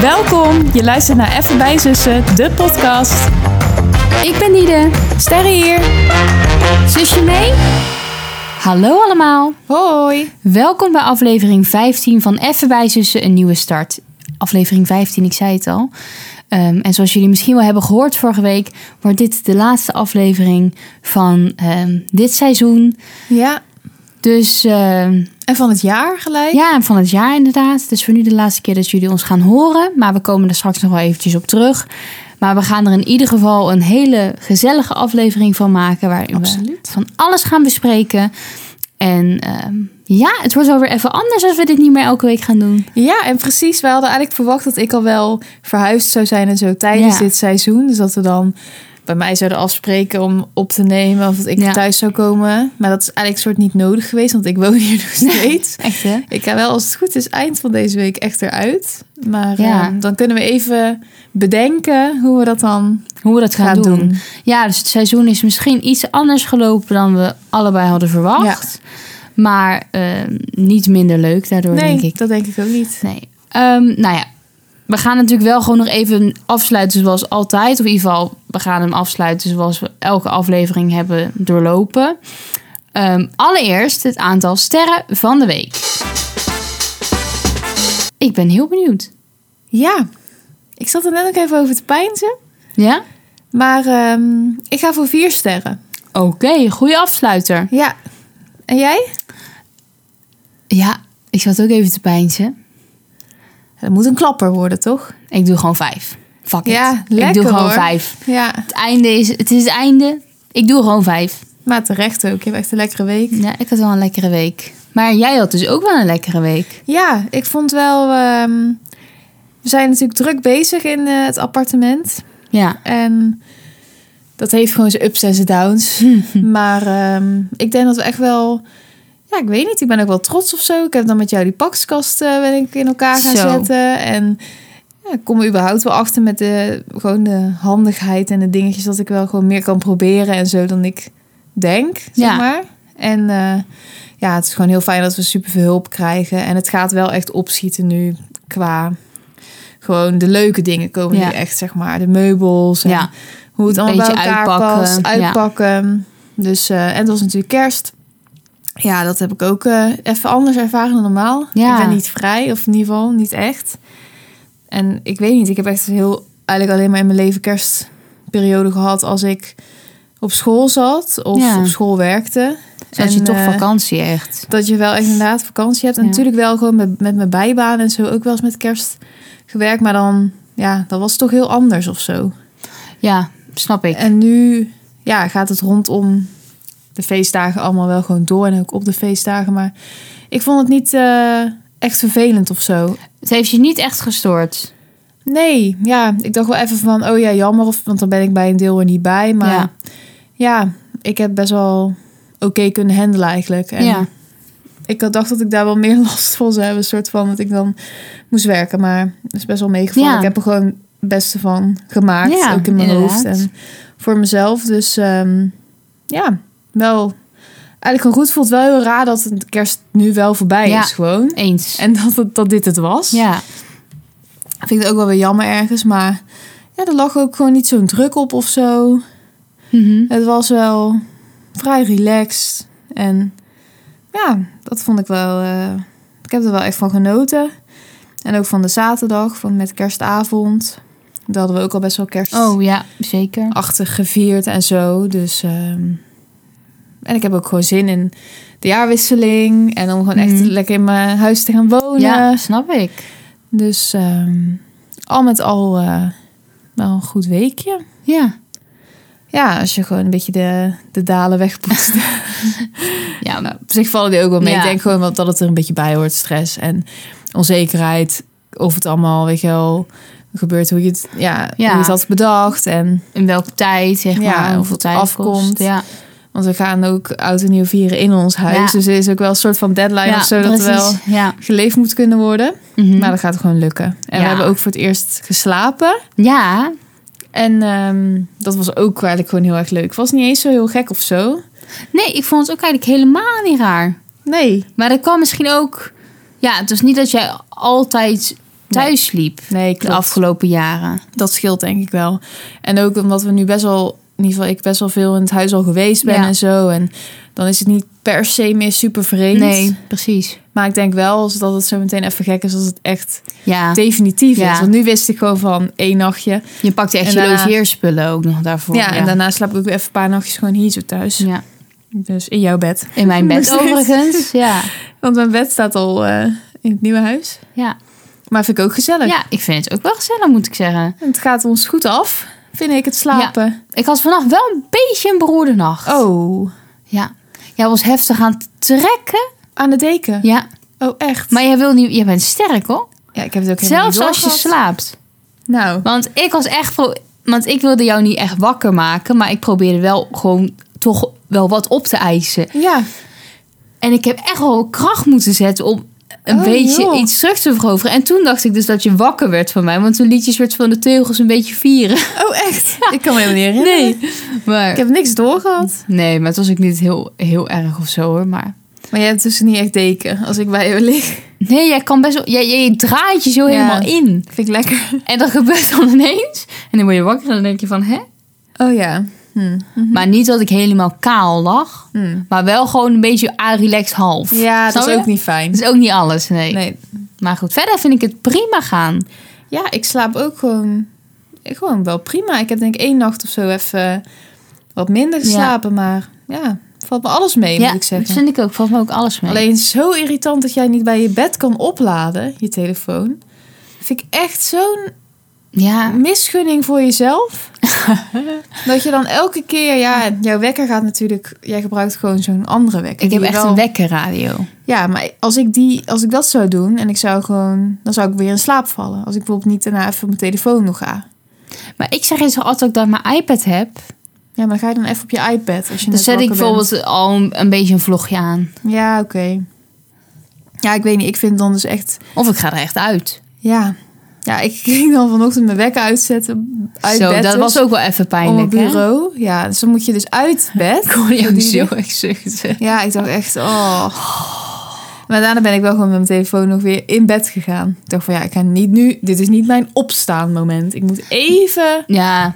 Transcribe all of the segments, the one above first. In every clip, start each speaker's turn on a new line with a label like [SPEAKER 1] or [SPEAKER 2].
[SPEAKER 1] Welkom, je luistert naar Even bij Zussen, de podcast.
[SPEAKER 2] Ik ben Nide.
[SPEAKER 1] Sterre hier.
[SPEAKER 2] Zusje mee? Hallo allemaal.
[SPEAKER 1] Hoi.
[SPEAKER 2] Welkom bij aflevering 15 van Even bij Zussen, een nieuwe start. Aflevering 15, ik zei het al. Ehm, en zoals jullie misschien wel hebben gehoord vorige week, wordt dit de laatste aflevering van ehm, dit seizoen.
[SPEAKER 1] Ja,
[SPEAKER 2] Dus ehm,
[SPEAKER 1] en van het jaar gelijk.
[SPEAKER 2] ja, van het jaar inderdaad. Dus voor nu de laatste keer dat jullie ons gaan horen. Maar we komen er straks nog wel eventjes op terug. Maar we gaan er in ieder geval een hele gezellige aflevering van maken. Waarin we
[SPEAKER 1] absoluut.
[SPEAKER 2] van alles gaan bespreken. En ehm, ja, het wordt wel weer even anders als we dit niet meer elke week gaan doen.
[SPEAKER 1] Ja, en precies. Wij hadden eigenlijk verwacht dat ik al wel verhuisd zou zijn en zo tijdens
[SPEAKER 2] Ja.
[SPEAKER 1] dit seizoen. Dus dat we dan bij mij zouden afspreken om op te nemen of dat ik
[SPEAKER 2] Ja.
[SPEAKER 1] thuis zou komen. Maar dat is eigenlijk soort niet nodig geweest, want ik woon hier nog steeds.
[SPEAKER 2] Echt hè?
[SPEAKER 1] Ik ga wel, als het goed is, eind van deze week echt eruit. Maar
[SPEAKER 2] Ja.
[SPEAKER 1] ehm, dan kunnen we even bedenken hoe we dat dan
[SPEAKER 2] Hoe we dat gaan,
[SPEAKER 1] gaan
[SPEAKER 2] doen.
[SPEAKER 1] doen.
[SPEAKER 2] Ja, dus het seizoen is misschien iets anders gelopen dan we allebei hadden verwacht. Maar ehm, niet minder leuk daardoor,
[SPEAKER 1] nee,
[SPEAKER 2] denk ik.
[SPEAKER 1] dat denk ik ook niet.
[SPEAKER 2] Nee. Ehm, nou ja, we gaan natuurlijk wel gewoon nog even afsluiten zoals altijd. Of in ieder geval, we gaan hem afsluiten zoals we elke aflevering hebben doorlopen. Ehm, allereerst het aantal sterren van de week. Ik ben heel benieuwd.
[SPEAKER 1] Ja, ik zat er net ook even over te peinzen.
[SPEAKER 2] Ja?
[SPEAKER 1] Maar ehm, ik ga voor vier sterren.
[SPEAKER 2] Oké, goede afsluiter.
[SPEAKER 1] Ja. En jij?
[SPEAKER 2] Ja, ik zat ook even te pijnsen.
[SPEAKER 1] Dat moet een klapper worden, toch?
[SPEAKER 2] Ik doe gewoon vijf. Fuck it.
[SPEAKER 1] Ja,
[SPEAKER 2] ik
[SPEAKER 1] lekker,
[SPEAKER 2] doe gewoon
[SPEAKER 1] hoor.
[SPEAKER 2] vijf.
[SPEAKER 1] Ja,
[SPEAKER 2] Het einde is, het is het einde. Ik doe gewoon vijf.
[SPEAKER 1] maar terecht ook. Je hebt echt een lekkere week.
[SPEAKER 2] Ja, ik had wel een lekkere week. Maar jij had dus ook wel een lekkere week.
[SPEAKER 1] Ja, ik vond wel... ehm, we zijn natuurlijk druk bezig in eh, het appartement.
[SPEAKER 2] Ja.
[SPEAKER 1] En dat heeft gewoon zijn ups en zijn downs. maar ehm, ik denk dat we echt wel. Ja, ik weet niet. Ik ben ook wel trots of zo. Ik heb dan met jou die pakskast eh, ben ik in elkaar gaan
[SPEAKER 2] Zo.
[SPEAKER 1] zetten. En ja, ik kom er überhaupt wel achter met de, gewoon de handigheid en de dingetjes dat ik wel gewoon meer kan proberen en zo dan ik denk, zeg
[SPEAKER 2] Ja.
[SPEAKER 1] maar. En eh, ja, het is gewoon heel fijn dat we superveel hulp krijgen. En het gaat wel echt opschieten nu qua gewoon de leuke dingen komen
[SPEAKER 2] Ja.
[SPEAKER 1] nu echt, zeg maar. De meubels en
[SPEAKER 2] Ja.
[SPEAKER 1] hoe het
[SPEAKER 2] Een
[SPEAKER 1] allemaal bij
[SPEAKER 2] beetje
[SPEAKER 1] elkaar
[SPEAKER 2] uitpakken,
[SPEAKER 1] past,
[SPEAKER 2] ja.
[SPEAKER 1] uitpakken. Dus, eh, en het was natuurlijk kerst. Ja, dat heb ik ook eh, even anders ervaren dan normaal.
[SPEAKER 2] Ja.
[SPEAKER 1] Ik ben niet vrij, of in ieder geval niet echt. En ik weet niet, ik heb echt heel, eigenlijk alleen maar in mijn leven kerstperiode gehad als ik op school zat of
[SPEAKER 2] Ja.
[SPEAKER 1] op school werkte.
[SPEAKER 2] Zodat je
[SPEAKER 1] En,
[SPEAKER 2] toch
[SPEAKER 1] eh,
[SPEAKER 2] vakantie echt.
[SPEAKER 1] dat je wel echt inderdaad vakantie hebt. En
[SPEAKER 2] Ja.
[SPEAKER 1] natuurlijk wel gewoon met, met mijn bijbaan en zo ook wel eens met kerst gewerkt. Maar dan, ja, dat was toch heel anders of zo.
[SPEAKER 2] Ja, snap ik.
[SPEAKER 1] En nu ja, gaat het rondom de feestdagen allemaal wel gewoon door. En ook op de feestdagen. Maar ik vond het niet eh, echt vervelend of zo.
[SPEAKER 2] Het heeft je niet echt gestoord.
[SPEAKER 1] Nee, ja, ik dacht wel even van, oh ja, jammer. Of, want dan ben ik bij een deel er niet bij. Maar ja,
[SPEAKER 2] Ja.
[SPEAKER 1] ik heb best wel oké kunnen handelen eigenlijk. En
[SPEAKER 2] ja.
[SPEAKER 1] ik had dacht dat ik daar wel meer last van zou hebben. Een soort van dat ik dan moest werken. Maar dat is best wel meegevallen.
[SPEAKER 2] Ja.
[SPEAKER 1] Ik heb er gewoon het beste van gemaakt.
[SPEAKER 2] Ja,
[SPEAKER 1] ook in mijn
[SPEAKER 2] inderdaad.
[SPEAKER 1] hoofd. En voor mezelf. Dus ehm, ja, wel eigenlijk gewoon goed. Voelt wel heel raar dat het kerst nu wel voorbij
[SPEAKER 2] Ja.
[SPEAKER 1] is gewoon.
[SPEAKER 2] Eens.
[SPEAKER 1] En dat, het, dat dit het was.
[SPEAKER 2] ja.
[SPEAKER 1] Vind ik het ook wel weer jammer ergens. Maar ja, er lag ook gewoon niet zo'n druk op of zo.
[SPEAKER 2] Mhm.
[SPEAKER 1] Het was wel vrij relaxed. En ja, dat vond ik wel. eh, ik heb er wel echt van genoten. En ook van de zaterdag, van met kerstavond. Daar hadden we ook al best wel kerstachtig
[SPEAKER 2] Oh ja, zeker.
[SPEAKER 1] gevierd en zo. Dus. ehm, en ik heb ook gewoon zin in de jaarwisseling. En om gewoon echt
[SPEAKER 2] Mhm.
[SPEAKER 1] lekker in mijn huis te gaan wonen.
[SPEAKER 2] Ja, snap ik.
[SPEAKER 1] Dus ehm, al met al eh, wel een goed weekje.
[SPEAKER 2] Ja.
[SPEAKER 1] Ja, als je gewoon een beetje de, de dalen wegpoetst.
[SPEAKER 2] Ja,
[SPEAKER 1] Nou, op zich vallen die ook wel mee.
[SPEAKER 2] Ja.
[SPEAKER 1] Ik denk gewoon wel dat het er een beetje bij hoort. Stress en onzekerheid. Of het allemaal, weet je wel, gebeurt hoe je het, ja,
[SPEAKER 2] Ja.
[SPEAKER 1] Hoe je het had bedacht. En,
[SPEAKER 2] in welke tijd, zeg
[SPEAKER 1] Ja,
[SPEAKER 2] maar.
[SPEAKER 1] of
[SPEAKER 2] hoeveel
[SPEAKER 1] het
[SPEAKER 2] tijd het kost.
[SPEAKER 1] afkomt.
[SPEAKER 2] Ja,
[SPEAKER 1] want we gaan ook oud en nieuw vieren in ons huis.
[SPEAKER 2] Ja.
[SPEAKER 1] Dus er is ook wel een soort van deadline
[SPEAKER 2] ja
[SPEAKER 1] of zo. Dat er wel
[SPEAKER 2] precies. Ja.
[SPEAKER 1] geleefd moet kunnen worden.
[SPEAKER 2] Mhm.
[SPEAKER 1] Maar dat gaat gewoon lukken. En we
[SPEAKER 2] Ja.
[SPEAKER 1] hebben ook voor het eerst geslapen.
[SPEAKER 2] ja.
[SPEAKER 1] En ehm, dat was ook eigenlijk gewoon heel erg leuk. Het was niet eens zo heel gek of zo.
[SPEAKER 2] Nee, ik vond het ook eigenlijk helemaal niet raar.
[SPEAKER 1] Nee.
[SPEAKER 2] Maar dat kwam misschien ook... Ja, het was niet dat jij altijd thuis liep
[SPEAKER 1] Nee,
[SPEAKER 2] de afgelopen jaren.
[SPEAKER 1] Dat scheelt denk ik wel. En ook omdat we nu best wel, in ieder geval ik best wel veel in het huis al geweest ben
[SPEAKER 2] Ja.
[SPEAKER 1] en zo. En dan is het niet per se meer super vreemd.
[SPEAKER 2] Nee, precies.
[SPEAKER 1] Maar ik denk wel als- dat het zo meteen even gek is als het echt
[SPEAKER 2] Ja,
[SPEAKER 1] definitief
[SPEAKER 2] Ja.
[SPEAKER 1] is. Want nu wist ik gewoon van één nachtje.
[SPEAKER 2] je pakte echt
[SPEAKER 1] En
[SPEAKER 2] je
[SPEAKER 1] daarna-
[SPEAKER 2] logeerspullen ook nog daarvoor.
[SPEAKER 1] ja, en daarna slaap ik ook even een paar nachtjes gewoon hier zo thuis.
[SPEAKER 2] Ja.
[SPEAKER 1] Dus in jouw bed.
[SPEAKER 2] In mijn bed
[SPEAKER 1] Nog steeds.
[SPEAKER 2] overigens. Ja.
[SPEAKER 1] Want mijn bed staat al eh, in het nieuwe huis.
[SPEAKER 2] Ja.
[SPEAKER 1] Maar vind ik ook gezellig.
[SPEAKER 2] ja, ik vind het ook wel gezellig, moet ik zeggen.
[SPEAKER 1] Het gaat ons goed af, vind ik, het slapen.
[SPEAKER 2] Ik had vannacht wel een beetje een beroerde nacht.
[SPEAKER 1] Oh,
[SPEAKER 2] Ja. Jij was heftig aan het trekken.
[SPEAKER 1] aan de deken.
[SPEAKER 2] Ja.
[SPEAKER 1] Oh, echt?
[SPEAKER 2] Maar jij wil niet, jij bent sterk hoor.
[SPEAKER 1] ja, ik heb het ook helemaal
[SPEAKER 2] Zelfs
[SPEAKER 1] niet
[SPEAKER 2] als je
[SPEAKER 1] doorgehad.
[SPEAKER 2] slaapt.
[SPEAKER 1] Nou,
[SPEAKER 2] Want ik was echt pro- Want ik wilde jou niet echt wakker maken. Maar ik probeerde wel gewoon toch wel wat op te eisen.
[SPEAKER 1] ja.
[SPEAKER 2] En ik heb echt wel kracht moeten zetten om een
[SPEAKER 1] Oh,
[SPEAKER 2] beetje
[SPEAKER 1] joh.
[SPEAKER 2] iets terug te veroveren. En toen dacht ik dus dat je wakker werd van mij. Want toen liet je een soort van de teugels een beetje vieren.
[SPEAKER 1] Oh, echt? Ik kan me helemaal niet herinneren.
[SPEAKER 2] Nee. Maar,
[SPEAKER 1] Ik heb niks doorgehad.
[SPEAKER 2] Nee, maar het was ook niet heel, heel erg of zo hoor. Maar...
[SPEAKER 1] Maar jij hebt dus niet echt deken als ik bij jou lig.
[SPEAKER 2] Nee, jij kan best wel... Jij, jij draait je zo
[SPEAKER 1] Ja.
[SPEAKER 2] helemaal in.
[SPEAKER 1] Vind ik lekker.
[SPEAKER 2] En dat gebeurt dan ineens. En dan word je wakker en dan denk je van, hè?
[SPEAKER 1] Oh ja. Hm.
[SPEAKER 2] Maar niet dat ik helemaal kaal lag.
[SPEAKER 1] Hm.
[SPEAKER 2] Maar wel gewoon een beetje aan relaxed half.
[SPEAKER 1] Ja, dat
[SPEAKER 2] Snap
[SPEAKER 1] is
[SPEAKER 2] je?
[SPEAKER 1] ook niet fijn.
[SPEAKER 2] Dat is ook niet alles, nee.
[SPEAKER 1] Nee.
[SPEAKER 2] Maar goed, verder vind ik het prima gaan.
[SPEAKER 1] Ja, ik slaap ook gewoon, gewoon wel prima. Ik heb denk ik één nacht of zo even wat minder
[SPEAKER 2] Ja.
[SPEAKER 1] geslapen. Maar ja, valt me alles mee, moet ik
[SPEAKER 2] dat
[SPEAKER 1] zeggen.
[SPEAKER 2] vind ik ook. Valt me ook alles mee.
[SPEAKER 1] Alleen zo irritant dat jij niet bij je bed kan opladen, je telefoon. Vind ik echt zo'n
[SPEAKER 2] Ja,
[SPEAKER 1] misgunning voor jezelf. dat je dan elke keer, ja, jouw wekker gaat natuurlijk, jij gebruikt gewoon zo'n andere wekker.
[SPEAKER 2] ik heb
[SPEAKER 1] die
[SPEAKER 2] echt
[SPEAKER 1] wel-
[SPEAKER 2] een wekkerradio.
[SPEAKER 1] Ja, maar als ik, die, als ik dat zou doen en ik zou gewoon, dan zou ik weer in slaap vallen. Als ik bijvoorbeeld niet daarna even op mijn telefoon nog ga.
[SPEAKER 2] Maar ik zeg eens altijd ook dat ik mijn iPad heb.
[SPEAKER 1] Ja, maar dan ga je dan even op je iPad als je
[SPEAKER 2] Dan
[SPEAKER 1] net
[SPEAKER 2] zet
[SPEAKER 1] wakker bent.
[SPEAKER 2] ik bijvoorbeeld al een, een beetje een vlogje aan.
[SPEAKER 1] Ja, oké. Ja, ik weet niet. Ik vind dan dus echt...
[SPEAKER 2] Of ik ga er echt uit.
[SPEAKER 1] Ja, ja ik ging dan vanochtend mijn wekker uitzetten. Uit
[SPEAKER 2] zo,
[SPEAKER 1] bed
[SPEAKER 2] dat
[SPEAKER 1] dus,
[SPEAKER 2] was ook wel even
[SPEAKER 1] Op mijn
[SPEAKER 2] pijnlijk. hè?
[SPEAKER 1] bureau. Ja, dus dan moet je dus uit bed.
[SPEAKER 2] Ik hoor jou
[SPEAKER 1] Die-
[SPEAKER 2] zo echt zuchten.
[SPEAKER 1] Ja, ik dacht echt, oh. Maar daarna ben ik wel gewoon met mijn telefoon nog weer in bed gegaan. Ik dacht van ja, ik ga niet nu, dit is niet mijn opstaan moment. Ik moet even
[SPEAKER 2] Ja,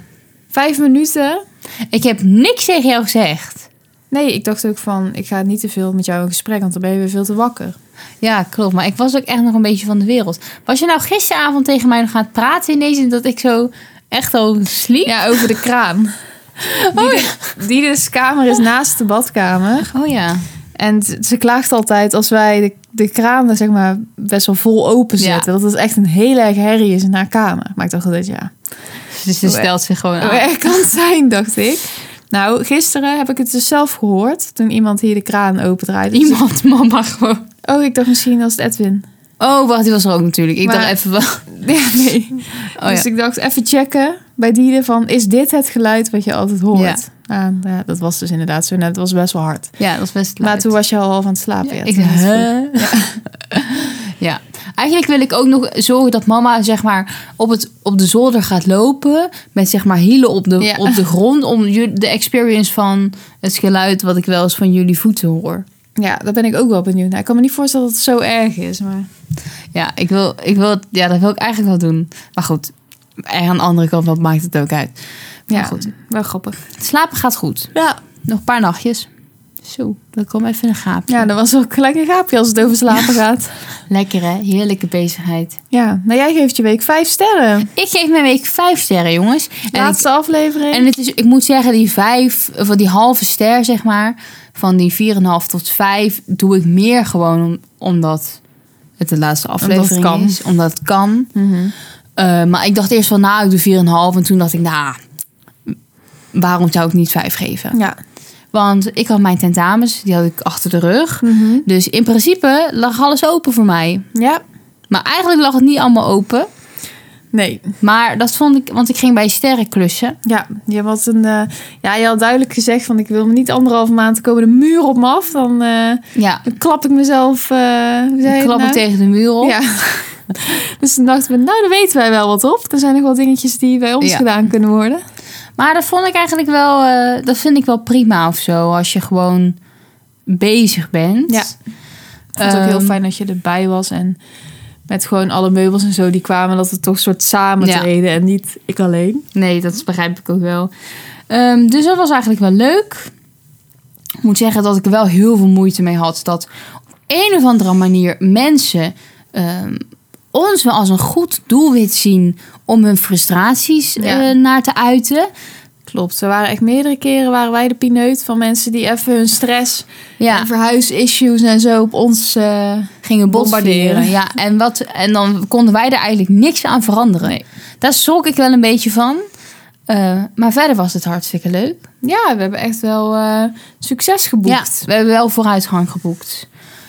[SPEAKER 1] vijf minuten.
[SPEAKER 2] ik heb niks tegen jou gezegd.
[SPEAKER 1] Nee, ik dacht ook van, ik ga niet te veel met jou in gesprek, want dan ben je weer veel te wakker.
[SPEAKER 2] Ja, klopt. Maar ik was ook echt nog een beetje van de wereld. Was je nou gisteravond tegen mij nog aan het praten ineens... en dat ik zo echt al sliep?
[SPEAKER 1] Ja, over de kraan. Die, de- die dus kamer is naast de badkamer.
[SPEAKER 2] Oh ja.
[SPEAKER 1] En ze- ze klaagt altijd als wij de, de kraan er, zeg maar, best wel vol open
[SPEAKER 2] Ja.
[SPEAKER 1] zetten. Dat het echt een hele erg herrie is in haar kamer. Maar ik dacht altijd, ja,
[SPEAKER 2] Dus ze
[SPEAKER 1] Oh,
[SPEAKER 2] stelt zich gewoon
[SPEAKER 1] hoe
[SPEAKER 2] aan.
[SPEAKER 1] erg kan het zijn, dacht ik. Nou, gisteren heb ik het dus zelf gehoord. Toen iemand hier de kraan opendraait. Dus ik-
[SPEAKER 2] Iemand, mama gewoon.
[SPEAKER 1] oh, ik dacht misschien was het Edwin.
[SPEAKER 2] Oh, wacht, die was er ook natuurlijk. Ik
[SPEAKER 1] Maar-
[SPEAKER 2] dacht even wel...
[SPEAKER 1] Ja, nee.
[SPEAKER 2] Oh
[SPEAKER 1] dus
[SPEAKER 2] ja.
[SPEAKER 1] ik dacht even checken bij Diede van... is dit het geluid wat je altijd hoort? Ja. ja, dat was dus inderdaad zo. Nou, dat was best wel hard.
[SPEAKER 2] ja, dat was best
[SPEAKER 1] Maar
[SPEAKER 2] luid.
[SPEAKER 1] toen was je al van het slapen.
[SPEAKER 2] Ja,
[SPEAKER 1] Ja,
[SPEAKER 2] ik
[SPEAKER 1] toen
[SPEAKER 2] dacht,
[SPEAKER 1] was het vroeg.
[SPEAKER 2] hè? Ja. Eigenlijk wil ik ook nog zorgen dat mama zeg maar, op, het, op de zolder gaat lopen. Met zeg maar hielen op de,
[SPEAKER 1] Ja.
[SPEAKER 2] op de grond. Om ju- de experience van het geluid wat ik wel eens van jullie voeten hoor.
[SPEAKER 1] ja, daar ben ik ook wel benieuwd naar. Ik kan me niet voorstellen dat het zo erg is. Maar...
[SPEAKER 2] Ja, ik wil, ik wil, het- ja, dat wil ik eigenlijk wel doen. Maar goed, en aan de andere kant, wat maakt het ook uit?
[SPEAKER 1] Ja,
[SPEAKER 2] goed.
[SPEAKER 1] wel grappig.
[SPEAKER 2] Slapen gaat goed.
[SPEAKER 1] Ja.
[SPEAKER 2] Nog een paar nachtjes. Zo, dan kwam even een gaapje.
[SPEAKER 1] ja, dat was ook gelijk een gaapje als het over slapen gaat.
[SPEAKER 2] Lekker hè, heerlijke bezigheid.
[SPEAKER 1] Ja, nou jij geeft je week vijf sterren.
[SPEAKER 2] Ik geef mijn week vijf sterren, jongens. En ik
[SPEAKER 1] Laatste aflevering.
[SPEAKER 2] En het is, ik moet zeggen, die vijf, of die halve ster, zeg maar, van die 4,5 tot 5, doe ik meer gewoon om- omdat het de laatste aflevering
[SPEAKER 1] het kan.
[SPEAKER 2] is. Omdat het kan.
[SPEAKER 1] Mhm.
[SPEAKER 2] Eh, maar ik dacht eerst van, nou, ik doe 4,5. En toen dacht ik, nou, waarom zou ik niet 5 geven?
[SPEAKER 1] Ja.
[SPEAKER 2] Want ik had mijn tentamens, die had ik achter de rug.
[SPEAKER 1] Mhm.
[SPEAKER 2] Dus in principe lag alles open voor mij.
[SPEAKER 1] Ja.
[SPEAKER 2] Maar eigenlijk lag het niet allemaal open.
[SPEAKER 1] Nee.
[SPEAKER 2] Maar dat vond ik, want ik ging bij sterren klussen.
[SPEAKER 1] Ja, je had, een, eh, ja, je had duidelijk gezegd van ik wil me niet anderhalve maand dan komen de muur op me af. Dan, eh,
[SPEAKER 2] Ja,
[SPEAKER 1] dan klap ik mezelf. eh, hoe zei je
[SPEAKER 2] ik
[SPEAKER 1] het
[SPEAKER 2] klap ik
[SPEAKER 1] nou?
[SPEAKER 2] tegen de muur op.
[SPEAKER 1] Ja. dus toen dachten we, nou, dan weten wij wel wat op. Er zijn nog wel dingetjes die bij ons
[SPEAKER 2] Ja.
[SPEAKER 1] gedaan kunnen worden.
[SPEAKER 2] Maar dat vond ik eigenlijk wel, eh, dat vind ik wel prima of zo. Als je gewoon bezig bent.
[SPEAKER 1] Dus, Ja. Ik vond het ook
[SPEAKER 2] Ehm,
[SPEAKER 1] heel fijn dat je erbij was en Met gewoon alle meubels en zo die kwamen. Dat we toch soort samen
[SPEAKER 2] Ja.
[SPEAKER 1] treden en niet ik alleen.
[SPEAKER 2] Nee, dat begrijp ik ook wel. Ehm, dus dat was eigenlijk wel leuk. Ik moet zeggen dat ik er wel heel veel moeite mee had dat op een of andere manier mensen ehm, ons wel als een goed doelwit zien om hun frustraties
[SPEAKER 1] Ja.
[SPEAKER 2] eh, naar te uiten.
[SPEAKER 1] Klopt, er waren echt meerdere keren waren wij de pineut van mensen die even hun stress
[SPEAKER 2] Ja.
[SPEAKER 1] en verhuisissues en zo op ons... eh,
[SPEAKER 2] gingen bombarderen.
[SPEAKER 1] Bombarderen.
[SPEAKER 2] Ja, en, wat, en dan konden wij er eigenlijk niks aan veranderen.
[SPEAKER 1] Nee.
[SPEAKER 2] Daar schrok ik wel een beetje van. Eh, maar verder was het hartstikke leuk.
[SPEAKER 1] Ja, we hebben echt wel eh, succes geboekt.
[SPEAKER 2] Ja, we hebben wel vooruitgang geboekt.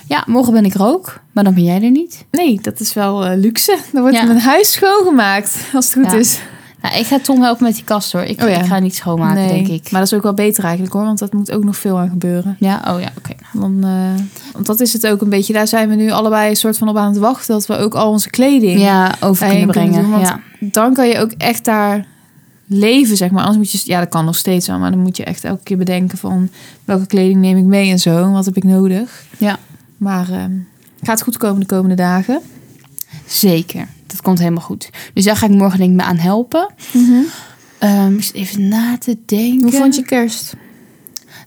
[SPEAKER 2] Ja, morgen ben ik er ook, maar dan ben jij er niet.
[SPEAKER 1] Nee, dat is wel eh, luxe. Dan wordt
[SPEAKER 2] Ja.
[SPEAKER 1] mijn huis schoongemaakt, als het goed
[SPEAKER 2] Ja.
[SPEAKER 1] is.
[SPEAKER 2] Nou, ik ga Tom helpen met die kast hoor. Ik,
[SPEAKER 1] Oh ja.
[SPEAKER 2] ik ga niet schoonmaken,
[SPEAKER 1] Nee,
[SPEAKER 2] denk ik.
[SPEAKER 1] Maar dat is ook wel beter eigenlijk hoor, want dat moet ook nog veel aan gebeuren.
[SPEAKER 2] Ja, oh ja, oké.
[SPEAKER 1] Dan, eh, want dat is het ook een beetje. Daar zijn we nu allebei een soort van op aan het wachten. Dat we ook al onze kleding.
[SPEAKER 2] Ja, over
[SPEAKER 1] Daarheen
[SPEAKER 2] kunnen
[SPEAKER 1] kunnen doen,
[SPEAKER 2] brengen.
[SPEAKER 1] want-
[SPEAKER 2] ja.
[SPEAKER 1] Dan kan je ook echt daar leven, zeg maar. Anders moet je. Ja, dat kan nog steeds wel. Maar dan moet je echt elke keer bedenken van welke kleding neem ik mee en zo. en Wat heb ik nodig.
[SPEAKER 2] ja,
[SPEAKER 1] Maar eh, gaat goed komen de komende dagen.
[SPEAKER 2] zeker. Dat komt helemaal goed. Dus daar ga ik morgen denk ik me aan helpen. Ehm, ik zit even na te denken.
[SPEAKER 1] Hoe vond je kerst?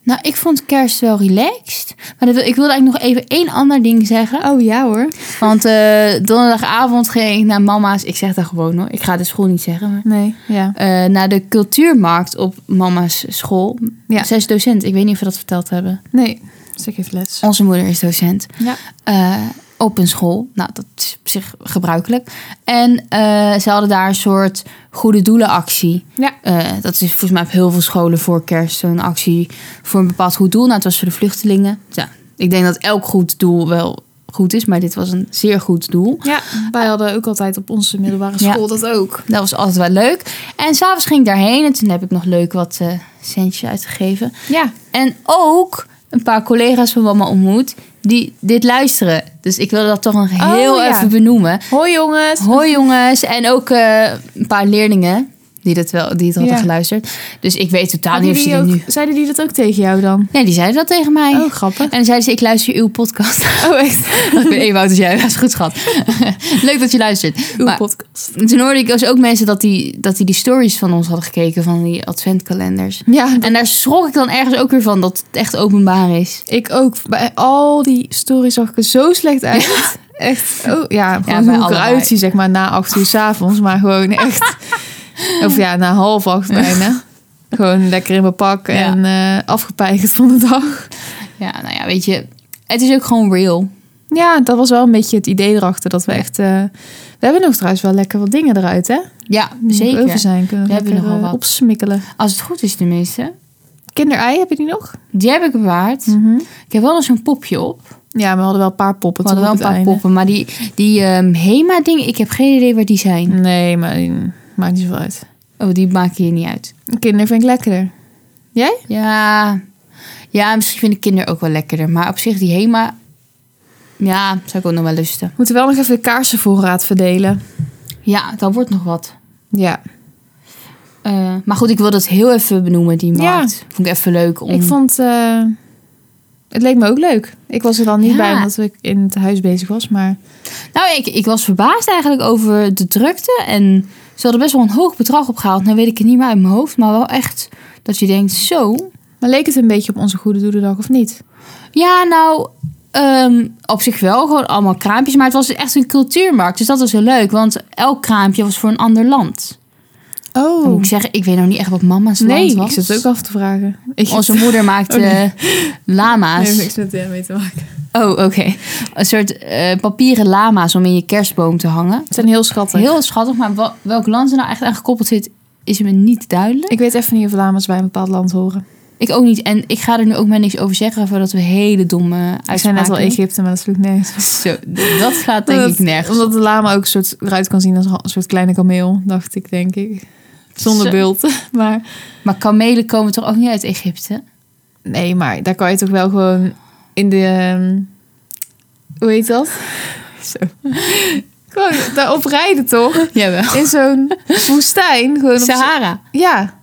[SPEAKER 2] Nou, ik vond kerst wel relaxed. Maar dat wil- ik wilde eigenlijk nog even één ander ding zeggen.
[SPEAKER 1] Oh ja hoor.
[SPEAKER 2] Want eh, donderdagavond ging ik naar mama's. Ik zeg dat gewoon hoor. Ik ga de school niet zeggen. Maar,
[SPEAKER 1] Nee, ja.
[SPEAKER 2] eh, naar de cultuurmarkt op mama's school.
[SPEAKER 1] Ja.
[SPEAKER 2] Zij is docent. Ik weet niet of we dat verteld hebben.
[SPEAKER 1] Nee, ze geeft les.
[SPEAKER 2] Onze moeder is docent.
[SPEAKER 1] Ja.
[SPEAKER 2] eh, op een school. Nou, dat is op zich gebruikelijk. En eh, ze hadden daar een soort goede doelenactie.
[SPEAKER 1] Ja.
[SPEAKER 2] Eh, dat is volgens mij op heel veel scholen voor kerst zo'n actie voor een bepaald goed doel. Nou, het was voor de vluchtelingen. Ja, ik denk dat elk goed doel wel goed is, maar dit was een zeer goed doel.
[SPEAKER 1] ja, wij hadden ook altijd op onze middelbare
[SPEAKER 2] Ja.
[SPEAKER 1] school dat ook.
[SPEAKER 2] Dat was altijd wel leuk. En s'avonds ging ik daarheen en toen heb ik nog leuk wat eh, centjes uitgegeven.
[SPEAKER 1] Ja.
[SPEAKER 2] En ook een paar collega's van mama ontmoet die dit luisteren. Dus ik wilde dat toch nog
[SPEAKER 1] Oh,
[SPEAKER 2] heel
[SPEAKER 1] ja.
[SPEAKER 2] even benoemen.
[SPEAKER 1] Hoi jongens.
[SPEAKER 2] Hoi jongens. En ook eh, een paar leerlingen die, dat wel, die het hadden
[SPEAKER 1] Ja.
[SPEAKER 2] geluisterd. Dus ik weet totaal
[SPEAKER 1] Hadden
[SPEAKER 2] niet of ze
[SPEAKER 1] jullie
[SPEAKER 2] dit
[SPEAKER 1] ook,
[SPEAKER 2] nu...
[SPEAKER 1] Zeiden die dat ook tegen jou dan?
[SPEAKER 2] Nee, die zeiden dat tegen mij.
[SPEAKER 1] Oh, grappig.
[SPEAKER 2] En dan zeiden ze, ik luister uw podcast.
[SPEAKER 1] Oh, echt?
[SPEAKER 2] ik ben Ewout, dus jij was goed, schat. Leuk dat je luistert.
[SPEAKER 1] Uw
[SPEAKER 2] Maar
[SPEAKER 1] podcast.
[SPEAKER 2] toen hoorde ik dus ook mensen dat die, dat die die stories van ons hadden gekeken. Van die adventkalenders.
[SPEAKER 1] Ja,
[SPEAKER 2] En daar schrok ik dan ergens ook weer van dat het echt openbaar is.
[SPEAKER 1] ik ook. Bij al die stories zag ik er zo slecht uit. Echt. Oh, ja, gewoon
[SPEAKER 2] bij
[SPEAKER 1] hoe ik
[SPEAKER 2] allebei.
[SPEAKER 1] eruit zie, zeg maar, na acht uur s'avonds. Maar gewoon echt... of ja, na half acht bijna. Gewoon lekker in mijn pak
[SPEAKER 2] Ja.
[SPEAKER 1] en eh afgepeigerd van de dag.
[SPEAKER 2] Ja, nou ja, weet je. Het is ook gewoon real.
[SPEAKER 1] Ja, dat was wel een beetje het idee erachter. Dat we echt... eh, we hebben nog trouwens wel lekker wat dingen eruit, hè?
[SPEAKER 2] Ja,
[SPEAKER 1] Die nog
[SPEAKER 2] zeker.
[SPEAKER 1] over zijn kunnen
[SPEAKER 2] We
[SPEAKER 1] we
[SPEAKER 2] hebben
[SPEAKER 1] lekker eh,
[SPEAKER 2] nogal wat.
[SPEAKER 1] opsmikkelen.
[SPEAKER 2] Mm, Als het goed is tenminste.
[SPEAKER 1] Kinderei, heb je die nog?
[SPEAKER 2] Die heb ik bewaard.
[SPEAKER 1] Mm.
[SPEAKER 2] Ik heb wel nog zo'n popje op.
[SPEAKER 1] Ja, we hadden wel een paar poppen.
[SPEAKER 2] Mhm. We hadden wel een
[SPEAKER 1] toen
[SPEAKER 2] paar
[SPEAKER 1] op het
[SPEAKER 2] poppen. Maar die, die HEMA-dingen, ik heb geen idee waar die zijn.
[SPEAKER 1] einde. Nee, maar die maakt niet zo uit.
[SPEAKER 2] Oh, die maken hier niet uit.
[SPEAKER 1] Kinder vind ik lekkerder. Jij?
[SPEAKER 2] Ja, ja misschien vind ik kinderen ook wel lekkerder. Maar op zich, die HEMA, ja, zou ik ook nog wel lusten.
[SPEAKER 1] We moeten wel nog even de kaarsenvoorraad verdelen.
[SPEAKER 2] Ja, dat wordt nog wat.
[SPEAKER 1] Ja.
[SPEAKER 2] Eh, maar goed, ik wil dat heel even benoemen, die
[SPEAKER 1] Ja.
[SPEAKER 2] markt. Vond ik even leuk om...
[SPEAKER 1] Ik vond... eh, het leek me ook leuk. Ik was er dan niet
[SPEAKER 2] Ja.
[SPEAKER 1] bij omdat ik in het huis bezig was, maar...
[SPEAKER 2] Nou, ik, ik was verbaasd eigenlijk over de drukte. En ze hadden best wel een hoog bedrag opgehaald. Nou weet ik het niet meer uit mijn hoofd. Maar wel echt dat je denkt, zo...
[SPEAKER 1] Maar leek het een beetje op onze Goede Doelendag of niet?
[SPEAKER 2] Ja, nou, ehm, op zich wel. Gewoon allemaal kraampjes. Maar het was echt een cultuurmarkt. Dus dat was heel leuk. Want elk kraampje was voor een ander land. Dan moet
[SPEAKER 1] Oh.
[SPEAKER 2] ik zeggen, ik weet nog niet echt wat mama's land
[SPEAKER 1] Nee, ik
[SPEAKER 2] was.
[SPEAKER 1] zit het ook af te vragen. Ik
[SPEAKER 2] Onze moeder maakte
[SPEAKER 1] Oh, nee.
[SPEAKER 2] eh,
[SPEAKER 1] Nee,
[SPEAKER 2] lama's.
[SPEAKER 1] heeft niks met eh, mee te maken.
[SPEAKER 2] Oh, oké. Een soort eh, papieren lama's om in je kerstboom te hangen.
[SPEAKER 1] Het zijn heel schattig.
[SPEAKER 2] Heel schattig, maar wa- welk land er nou echt aan gekoppeld zit, is me niet duidelijk.
[SPEAKER 1] Ik weet even niet of lama's bij een bepaald land horen.
[SPEAKER 2] Ik ook niet. En ik ga er nu ook maar niks over zeggen, voordat we hele domme uitspraken...
[SPEAKER 1] Ik zei net al Egypte, maar dat sloeg nergens op.
[SPEAKER 2] Zo, dat gaat denk
[SPEAKER 1] Omdat-
[SPEAKER 2] ik nergens.
[SPEAKER 1] Omdat de lama ook een soort eruit kan zien als een soort kleine kameel, dacht ik, denk ik. Zonder
[SPEAKER 2] Zo.
[SPEAKER 1] bult. Maar
[SPEAKER 2] Maar kamelen komen toch ook niet uit Egypte?
[SPEAKER 1] nee, maar daar kan je toch wel gewoon in de. ehm, hoe heet dat? Zo. Gewoon daarop rijden, toch?
[SPEAKER 2] Jawel.
[SPEAKER 1] In zo'n woestijn. Gewoon op zo'n-
[SPEAKER 2] Sahara.
[SPEAKER 1] ja.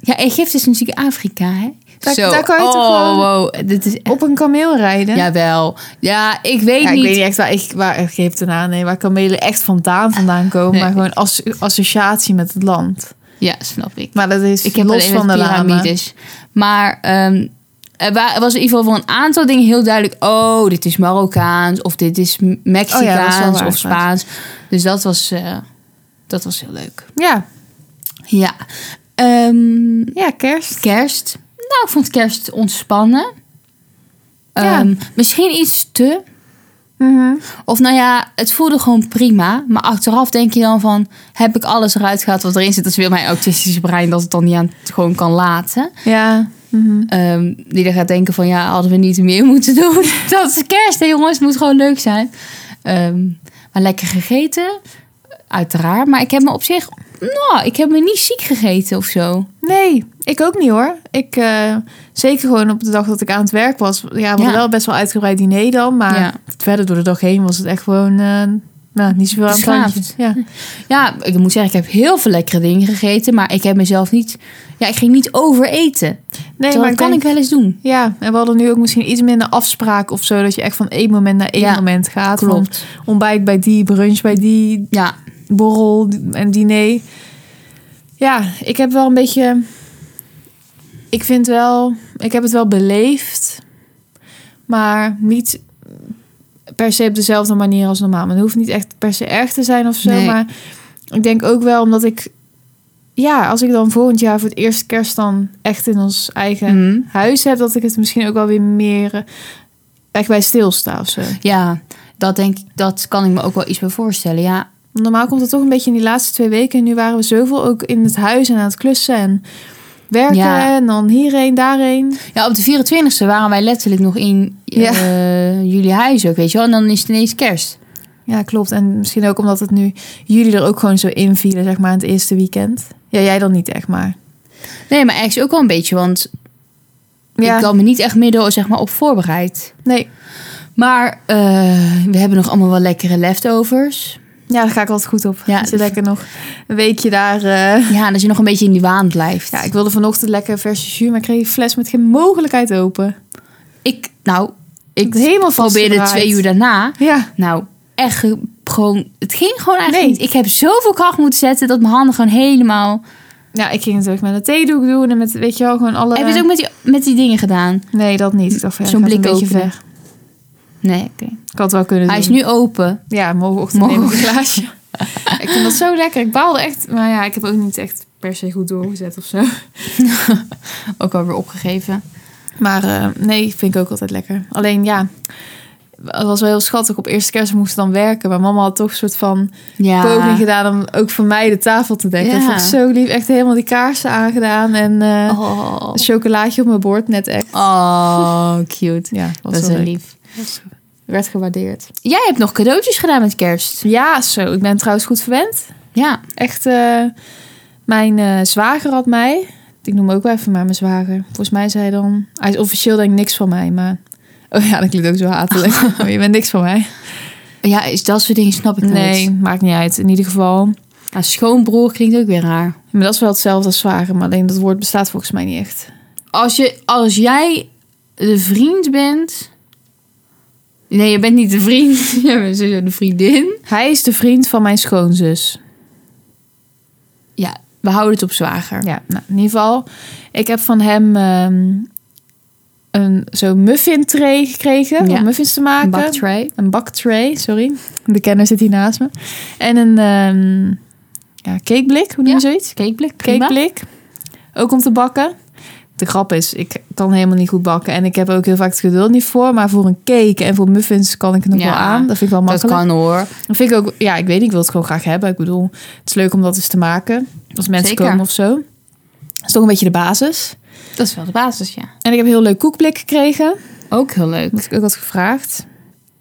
[SPEAKER 2] Ja, Egypte is natuurlijk Afrika, hè?
[SPEAKER 1] Daar-
[SPEAKER 2] Zo.
[SPEAKER 1] daar kan je
[SPEAKER 2] oh,
[SPEAKER 1] toch gewoon-
[SPEAKER 2] wow. Dit is echt...
[SPEAKER 1] Op een kameel rijden?
[SPEAKER 2] Jawel. Ja, ik weet
[SPEAKER 1] Ja, ik
[SPEAKER 2] niet.
[SPEAKER 1] weet niet echt waar ik, waar ik geef het aan. Nee, waar kamelen echt vandaan vandaan komen.
[SPEAKER 2] Nee.
[SPEAKER 1] Maar gewoon als associatie met het land.
[SPEAKER 2] Ja, snap ik.
[SPEAKER 1] Maar dat is
[SPEAKER 2] Ik heb
[SPEAKER 1] los van de lama.
[SPEAKER 2] piramides. Maar ehm, er wa- er was in ieder geval voor een aantal dingen heel duidelijk... oh, dit is Marokkaans of dit is
[SPEAKER 1] Oh
[SPEAKER 2] M- Mexicaans
[SPEAKER 1] waar,
[SPEAKER 2] of
[SPEAKER 1] waar.
[SPEAKER 2] Spaans. Dus dat was, eh, dat was heel leuk.
[SPEAKER 1] Ja.
[SPEAKER 2] Ja. Ehm,
[SPEAKER 1] ja, kerst.
[SPEAKER 2] kerst. Nou, ik vond kerst ontspannen.
[SPEAKER 1] Ja.
[SPEAKER 2] Ehm, Misschien iets te.
[SPEAKER 1] Mhm.
[SPEAKER 2] Of nou ja, het voelde gewoon prima. Maar achteraf denk je dan van... heb ik alles eruit gehaald wat erin zit? Dat is weer mijn autistische brein dat het dan niet aan het gewoon kan laten.
[SPEAKER 1] Ja. Mhm.
[SPEAKER 2] Ehm, die dan gaat denken van ja, hadden we niet meer moeten doen. dat is kerst, hè, jongens. Het moet gewoon leuk zijn. Ehm, maar lekker gegeten, uiteraard. Maar ik heb me op zich... Nou, ik heb me niet ziek gegeten of zo.
[SPEAKER 1] Nee, ik ook niet hoor. Ik, eh, zeker gewoon op de dag dat ik aan het werk was. Ja, we hadden
[SPEAKER 2] Ja.
[SPEAKER 1] wel best wel uitgebreid diner dan. Maar
[SPEAKER 2] Ja.
[SPEAKER 1] verder door de dag heen was het echt gewoon eh, nou, niet zoveel aan het
[SPEAKER 2] Beschaafd. Hm.
[SPEAKER 1] randje. Ja.
[SPEAKER 2] Ja, ik moet zeggen, ik heb heel veel lekkere dingen gegeten. Maar ik heb mezelf niet... Ja, ik ging niet overeten.
[SPEAKER 1] Nee,
[SPEAKER 2] Terwijl
[SPEAKER 1] maar
[SPEAKER 2] dat
[SPEAKER 1] ik
[SPEAKER 2] kan
[SPEAKER 1] denk-
[SPEAKER 2] ik wel eens doen.
[SPEAKER 1] Ja, en we hadden nu ook misschien iets minder afspraken of zo. Dat je echt van één moment naar één
[SPEAKER 2] Ja,
[SPEAKER 1] moment gaat. Van ontbijt bij die, brunch bij die,
[SPEAKER 2] Ja,
[SPEAKER 1] borrel en diner. Ja, ik heb wel een beetje... Ik vind wel... Ik heb het wel beleefd. Maar niet per se op dezelfde manier als normaal. Maar het hoeft niet echt per se erg te zijn of zo.
[SPEAKER 2] Nee.
[SPEAKER 1] Maar ik denk ook wel omdat ik... Ja, als ik dan volgend jaar voor het eerst kerst dan echt in ons eigen
[SPEAKER 2] Mhm.
[SPEAKER 1] huis heb... dat ik het misschien ook wel weer meer eh, echt bij stilsta of zo.
[SPEAKER 2] ja dat, denk, ik- dat kan ik me ook wel iets bij voorstellen. Ja,
[SPEAKER 1] Normaal komt het toch een beetje in die laatste twee weken. En nu waren we zoveel ook in het huis en aan het klussen en werken.
[SPEAKER 2] Ja.
[SPEAKER 1] En dan hierheen, daarheen.
[SPEAKER 2] ja op de 24e waren wij letterlijk nog in
[SPEAKER 1] Ja.
[SPEAKER 2] eh, jullie huis ook, weet je wel. En dan is het ineens kerst.
[SPEAKER 1] Ja, klopt. En misschien ook omdat het nu jullie er ook gewoon zo in vielen, zeg maar, aan het eerste weekend. Ja, jij dan niet echt, maar...
[SPEAKER 2] Nee, maar ergens ook wel een beetje, want
[SPEAKER 1] Ja,
[SPEAKER 2] ik kan me niet echt midden zeg maar, op voorbereid.
[SPEAKER 1] nee.
[SPEAKER 2] Maar eh, we hebben nog allemaal wel lekkere leftovers.
[SPEAKER 1] Ja, daar ga ik altijd goed op.
[SPEAKER 2] Ja.
[SPEAKER 1] Ja. Zit lekker nog een weekje daar... eh.
[SPEAKER 2] Ja, dat je nog een beetje in die waan blijft.
[SPEAKER 1] Ja, ik wilde vanochtend lekker verse jus, maar ik kreeg die fles met geen mogelijkheid open.
[SPEAKER 2] ik nou, ik
[SPEAKER 1] helemaal
[SPEAKER 2] probeerde
[SPEAKER 1] vastgedraaid.
[SPEAKER 2] twee uur daarna.
[SPEAKER 1] Ja,
[SPEAKER 2] Nou, echt ge- gewoon. Het ging gewoon eigenlijk
[SPEAKER 1] Nee.
[SPEAKER 2] niet. Ik heb zoveel kracht moeten zetten dat mijn handen gewoon helemaal.
[SPEAKER 1] ja ik ging het ook met een theedoek doen en met, weet je wel, gewoon alle...
[SPEAKER 2] Heb je het ook met die, met die dingen gedaan?
[SPEAKER 1] Nee, dat niet. Ik dacht, van, ja,
[SPEAKER 2] Zo'n
[SPEAKER 1] dat gaat
[SPEAKER 2] blik
[SPEAKER 1] een beetje
[SPEAKER 2] openen.
[SPEAKER 1] ver.
[SPEAKER 2] Nee, oké.
[SPEAKER 1] Ik had het wel kunnen
[SPEAKER 2] Hij
[SPEAKER 1] doen.
[SPEAKER 2] is nu open.
[SPEAKER 1] Ja, morgenochtend
[SPEAKER 2] Morgen.
[SPEAKER 1] neem ik een glaasje. ik vind dat zo lekker. Ik baalde echt. Maar ja, ik heb ook niet echt per se goed doorgezet of zo.
[SPEAKER 2] Ook alweer opgegeven.
[SPEAKER 1] Maar eh, nee, vind ik ook altijd lekker. Alleen ja, het was wel heel schattig. Op eerste kerst moest dan werken. Maar mama had toch een soort van
[SPEAKER 2] Ja.
[SPEAKER 1] poging gedaan om ook voor mij de tafel te dekken.
[SPEAKER 2] Ja.
[SPEAKER 1] Dat vond ik zo lief. Echt helemaal die kaarsen aangedaan. En eh
[SPEAKER 2] Oh.
[SPEAKER 1] een chocolaatje op mijn bord net echt.
[SPEAKER 2] oh, cute.
[SPEAKER 1] Ja, was
[SPEAKER 2] Dat is
[SPEAKER 1] wel
[SPEAKER 2] wel
[SPEAKER 1] leuk.
[SPEAKER 2] lief.
[SPEAKER 1] Werd gewaardeerd.
[SPEAKER 2] Jij hebt nog cadeautjes gedaan met kerst.
[SPEAKER 1] Ja, zo. Ik ben trouwens goed verwend.
[SPEAKER 2] Ja.
[SPEAKER 1] Echt, eh, mijn eh, zwager had mij. Ik noem hem ook wel even maar mijn zwager. Volgens mij zei hij dan... Hij is officieel denk ik niks van mij, maar... Oh ja, dat klinkt ook zo hatelijk. Oh, je bent niks van mij.
[SPEAKER 2] Ja, is dat soort dingen snap ik
[SPEAKER 1] Nee,
[SPEAKER 2] niet.
[SPEAKER 1] maakt niet uit. In ieder geval.
[SPEAKER 2] Nou, schoonbroer klinkt ook weer raar.
[SPEAKER 1] Maar dat is wel hetzelfde als zwager. Maar alleen dat woord bestaat volgens mij niet echt.
[SPEAKER 2] Als, je, als jij de vriend bent. Nee, je bent niet de vriend. Je bent sowieso de vriendin.
[SPEAKER 1] Hij is de vriend van mijn schoonzus.
[SPEAKER 2] Ja, we houden het op zwager.
[SPEAKER 1] Ja, nou, in ieder geval. Ik heb van hem ehm, een zo'n muffin tray gekregen.
[SPEAKER 2] Ja.
[SPEAKER 1] Om muffins te maken.
[SPEAKER 2] Een baktray.
[SPEAKER 1] Een baktray, sorry. De kenner zit hier naast me. En een ehm, ja, cakeblik, hoe noem je
[SPEAKER 2] Ja.
[SPEAKER 1] zoiets?
[SPEAKER 2] Cakeblik.
[SPEAKER 1] Cakeblik. Ook om te bakken. De grap is, ik kan helemaal niet goed bakken. En ik heb ook heel vaak het geduld niet voor. Maar voor een cake en voor muffins kan ik het nog
[SPEAKER 2] Ja,
[SPEAKER 1] wel aan. Dat vind ik wel
[SPEAKER 2] Dat
[SPEAKER 1] makkelijk.
[SPEAKER 2] kan hoor.
[SPEAKER 1] Dat vind ik ook, ja, ik weet niet, ik wil het gewoon graag hebben. Ik bedoel, het is leuk om dat eens te maken. Als mensen
[SPEAKER 2] Zeker.
[SPEAKER 1] komen of zo. Dat is toch een beetje de basis.
[SPEAKER 2] Dat is wel de basis, ja.
[SPEAKER 1] En ik heb een heel leuk koekblik gekregen.
[SPEAKER 2] Ook heel leuk.
[SPEAKER 1] Dat ik ook had gevraagd.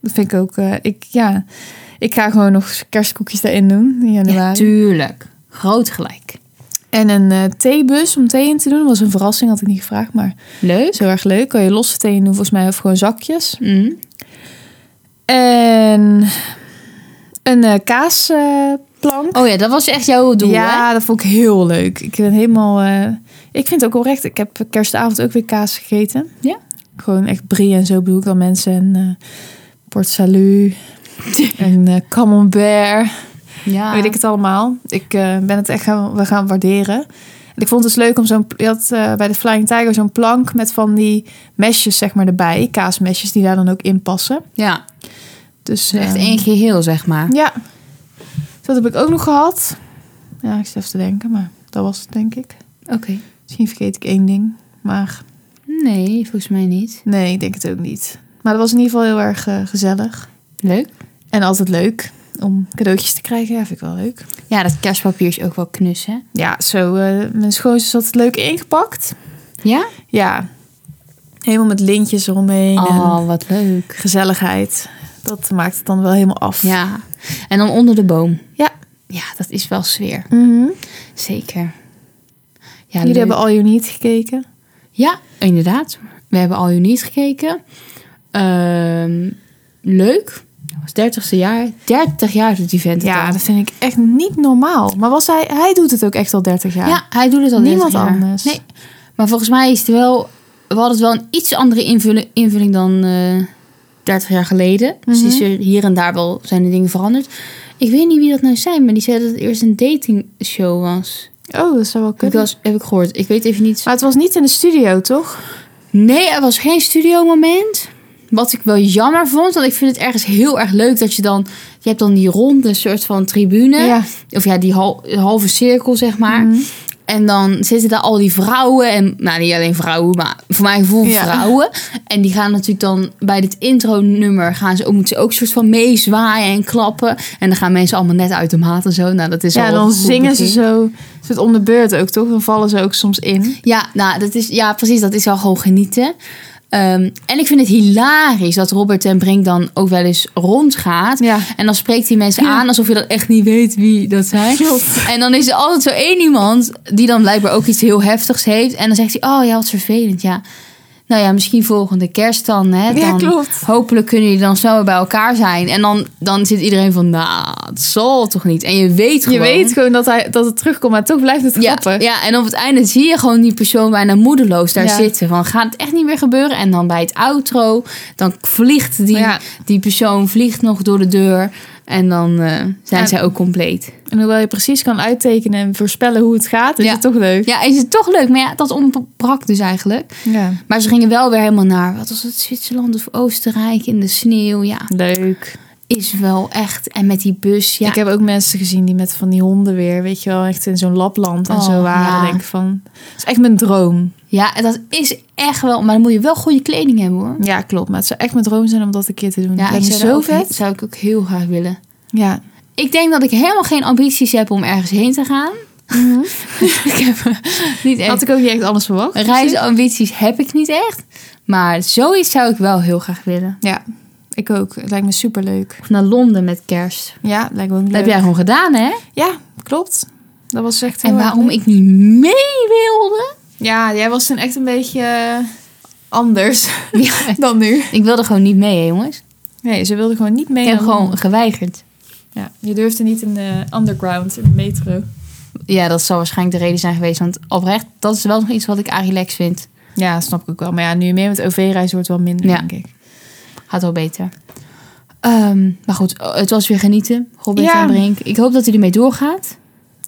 [SPEAKER 1] Dat vind ik ook. eh, ik, ja, ik ga gewoon nog kerstkoekjes daarin doen in
[SPEAKER 2] Ja,
[SPEAKER 1] januari.
[SPEAKER 2] tuurlijk. Groot gelijk.
[SPEAKER 1] en een eh, theebus om thee in te doen. Dat was een verrassing, had ik niet gevraagd. Maar
[SPEAKER 2] Leuk.
[SPEAKER 1] zo erg leuk. Kan je losse thee in doen, volgens mij, of gewoon zakjes.
[SPEAKER 2] Mm.
[SPEAKER 1] eh, En een kaasplaat plank.
[SPEAKER 2] Oh ja, dat was echt jouw doel, hè?
[SPEAKER 1] ja, dat vond ik heel leuk. Ik ben helemaal. eh, ik vind het ook oprecht. Ik heb kerstavond ook weer kaas gegeten.
[SPEAKER 2] Ja.
[SPEAKER 1] Gewoon echt brie en zo bedoel ik dan mensen. En eh port salut. en eh camembert.
[SPEAKER 2] Ja.
[SPEAKER 1] Weet ik het allemaal. Ik eh, ben het echt gaan, we gaan waarderen. En ik vond het dus leuk om zo'n... Je had eh, bij de Flying Tiger zo'n plank met van die mesjes zeg maar erbij. Kaasmesjes die daar dan ook in passen.
[SPEAKER 2] Ja,
[SPEAKER 1] Dus
[SPEAKER 2] echt
[SPEAKER 1] eh,
[SPEAKER 2] één geheel, zeg maar.
[SPEAKER 1] Ja. Dus Dat heb ik ook nog gehad. Ja, ik zit even te denken, maar dat was het denk ik.
[SPEAKER 2] Oké.
[SPEAKER 1] Misschien vergeet ik één ding, maar
[SPEAKER 2] Nee, volgens mij niet.
[SPEAKER 1] nee, ik denk het ook niet. Maar dat was in ieder geval heel erg eh, gezellig.
[SPEAKER 2] Leuk.
[SPEAKER 1] En altijd leuk om cadeautjes te krijgen. Ja, vind ik wel leuk.
[SPEAKER 2] Ja, dat kerstpapier is ook wel knus, hè?
[SPEAKER 1] Ja, zo, eh, mijn schoonzus had het leuk ingepakt.
[SPEAKER 2] Ja?
[SPEAKER 1] Ja, helemaal met lintjes eromheen en
[SPEAKER 2] Oh, wat leuk.
[SPEAKER 1] gezelligheid. Dat maakt het dan wel helemaal af.
[SPEAKER 2] Ja. En dan onder de boom.
[SPEAKER 1] Ja.
[SPEAKER 2] Ja, dat is wel sfeer.
[SPEAKER 1] Mhm.
[SPEAKER 2] Zeker. Ja,
[SPEAKER 1] Jullie
[SPEAKER 2] leuk.
[SPEAKER 1] hebben al je niet gekeken.
[SPEAKER 2] ja, inderdaad. We hebben al niet gekeken. Ehm, leuk. Dat was 30 jaar. 30 jaar dat event. het
[SPEAKER 1] Ja,
[SPEAKER 2] al.
[SPEAKER 1] dat vind ik echt niet normaal. Maar was hij, hij doet het ook echt al 30 jaar.
[SPEAKER 2] Ja, hij doet het al
[SPEAKER 1] Niemand
[SPEAKER 2] 30 jaar.
[SPEAKER 1] anders.
[SPEAKER 2] Nee. Maar volgens mij is het wel... We hadden het wel een iets andere invulling, invulling dan eh 30 jaar geleden. Dus
[SPEAKER 1] Mhm.
[SPEAKER 2] is er hier en daar wel zijn de dingen veranderd. Ik weet niet wie dat nou zijn, maar die zei dat het eerst een datingshow was.
[SPEAKER 1] Oh, dat zou wel
[SPEAKER 2] Heb ik,
[SPEAKER 1] kunnen.
[SPEAKER 2] wel eens- heb ik gehoord. Ik weet even niet.
[SPEAKER 1] Maar het was niet in de studio, toch?
[SPEAKER 2] Nee, er was geen studiomoment. Wat ik wel jammer vond, want ik vind het ergens heel erg leuk dat je dan... Je hebt dan die ronde soort van tribune.
[SPEAKER 1] Ja.
[SPEAKER 2] Of ja, die hal- halve cirkel, zeg maar.
[SPEAKER 1] Mhm.
[SPEAKER 2] En dan zitten daar al die vrouwen. En, nou, niet alleen vrouwen, maar voor mijn gevoel
[SPEAKER 1] Ja.
[SPEAKER 2] vrouwen. En die gaan natuurlijk dan bij dit intro-nummer... Gaan ze ook, moeten ze ook soort van meezwaaien en klappen. En dan gaan mensen allemaal net uit de maat en zo. Nou, dat is
[SPEAKER 1] Ja,
[SPEAKER 2] al
[SPEAKER 1] dan
[SPEAKER 2] een goed
[SPEAKER 1] zingen ze
[SPEAKER 2] begin.
[SPEAKER 1] zo. Zit om de beurt ook, toch? Dan vallen ze ook soms in.
[SPEAKER 2] Ja, nou, dat is, ja, precies. Dat is wel gewoon genieten. Ehm, en ik vind het hilarisch dat Robert en Brink dan ook wel eens rondgaat.
[SPEAKER 1] Ja.
[SPEAKER 2] En dan spreekt hij mensen
[SPEAKER 1] Ja.
[SPEAKER 2] aan alsof je dan echt niet weet wie dat zijn.
[SPEAKER 1] Klopt.
[SPEAKER 2] En dan is er altijd zo één iemand die dan blijkbaar ook iets heel heftigs heeft. En dan zegt hij, oh ja, wat vervelend, ja. Nou ja, misschien volgende kerst dan, hè.
[SPEAKER 1] Ja,
[SPEAKER 2] Dan
[SPEAKER 1] klopt.
[SPEAKER 2] Hopelijk kunnen jullie dan snel bij elkaar zijn. En dan, dan zit iedereen van, nou, het zal toch niet. En je weet
[SPEAKER 1] Je
[SPEAKER 2] gewoon...
[SPEAKER 1] weet gewoon dat, hij, dat het terugkomt, maar toch blijft het
[SPEAKER 2] Ja,
[SPEAKER 1] grappig.
[SPEAKER 2] ja, en op het einde zie je gewoon die persoon bijna moedeloos daar
[SPEAKER 1] Ja.
[SPEAKER 2] zitten. Van gaat het echt niet meer gebeuren? En dan bij het outro, dan vliegt die,
[SPEAKER 1] Ja.
[SPEAKER 2] die persoon vliegt nog door de deur. En dan eh, zijn
[SPEAKER 1] En-
[SPEAKER 2] zij ook compleet.
[SPEAKER 1] En hoewel je precies kan uittekenen en voorspellen hoe het gaat, is
[SPEAKER 2] Ja.
[SPEAKER 1] het toch leuk.
[SPEAKER 2] Ja, is het toch leuk? Maar ja, dat ontbrak dus eigenlijk.
[SPEAKER 1] Ja.
[SPEAKER 2] Maar ze gingen wel weer helemaal naar, wat was het, Zwitserland of Oostenrijk in de sneeuw. Ja,
[SPEAKER 1] Leuk.
[SPEAKER 2] is wel echt. En met die bus, ja.
[SPEAKER 1] Ik heb ook mensen gezien die met van die honden weer, weet je wel, echt in zo'n lapland en
[SPEAKER 2] Oh,
[SPEAKER 1] zo waren.
[SPEAKER 2] ja.
[SPEAKER 1] Denk ik van, het is echt mijn droom.
[SPEAKER 2] Ja, en dat is echt wel, maar dan moet je wel goede kleding hebben hoor.
[SPEAKER 1] Ja, klopt. Maar het zou echt mijn droom zijn om dat een keer te doen.
[SPEAKER 2] Ja,
[SPEAKER 1] dat
[SPEAKER 2] ik
[SPEAKER 1] is
[SPEAKER 2] zou, dat
[SPEAKER 1] zo
[SPEAKER 2] ook-
[SPEAKER 1] vet.
[SPEAKER 2] zou ik ook heel graag willen.
[SPEAKER 1] Ja.
[SPEAKER 2] Ik denk dat ik helemaal geen ambities heb om ergens heen te gaan. ik heb eh, niet echt.
[SPEAKER 1] Mhm. Had ik ook niet echt anders verwacht. Dus
[SPEAKER 2] Reisambities heb ik niet echt. Maar zoiets zou ik wel heel graag willen.
[SPEAKER 1] Ja, ik ook. Het lijkt me superleuk.
[SPEAKER 2] Of naar Londen met kerst.
[SPEAKER 1] Ja, het lijkt me ook leuk.
[SPEAKER 2] Dat heb jij gewoon gedaan, hè?
[SPEAKER 1] Ja, klopt. Dat was echt heel
[SPEAKER 2] En
[SPEAKER 1] erg
[SPEAKER 2] waarom
[SPEAKER 1] leuk.
[SPEAKER 2] ik niet mee wilde.
[SPEAKER 1] Ja, jij was toen echt een beetje eh, anders
[SPEAKER 2] Ja,
[SPEAKER 1] dan nu.
[SPEAKER 2] ik wilde gewoon niet mee, hè, jongens.
[SPEAKER 1] Nee, ze wilde gewoon niet mee.
[SPEAKER 2] Ik heb
[SPEAKER 1] naar
[SPEAKER 2] gewoon
[SPEAKER 1] Londen.
[SPEAKER 2] geweigerd.
[SPEAKER 1] Ja, je durfde niet in de underground, in de metro.
[SPEAKER 2] Ja, dat zal waarschijnlijk de reden zijn geweest. Want oprecht, dat is wel nog iets wat ik aan relax vind.
[SPEAKER 1] Ja, snap ik ook wel. Maar ja, nu je meer met OV reis wordt wel minder,
[SPEAKER 2] Ja.
[SPEAKER 1] denk ik.
[SPEAKER 2] Gaat wel beter. Ehm, maar goed, het was weer genieten. Robert
[SPEAKER 1] Ja.
[SPEAKER 2] en Brink. Ik hoop dat hij ermee doorgaat.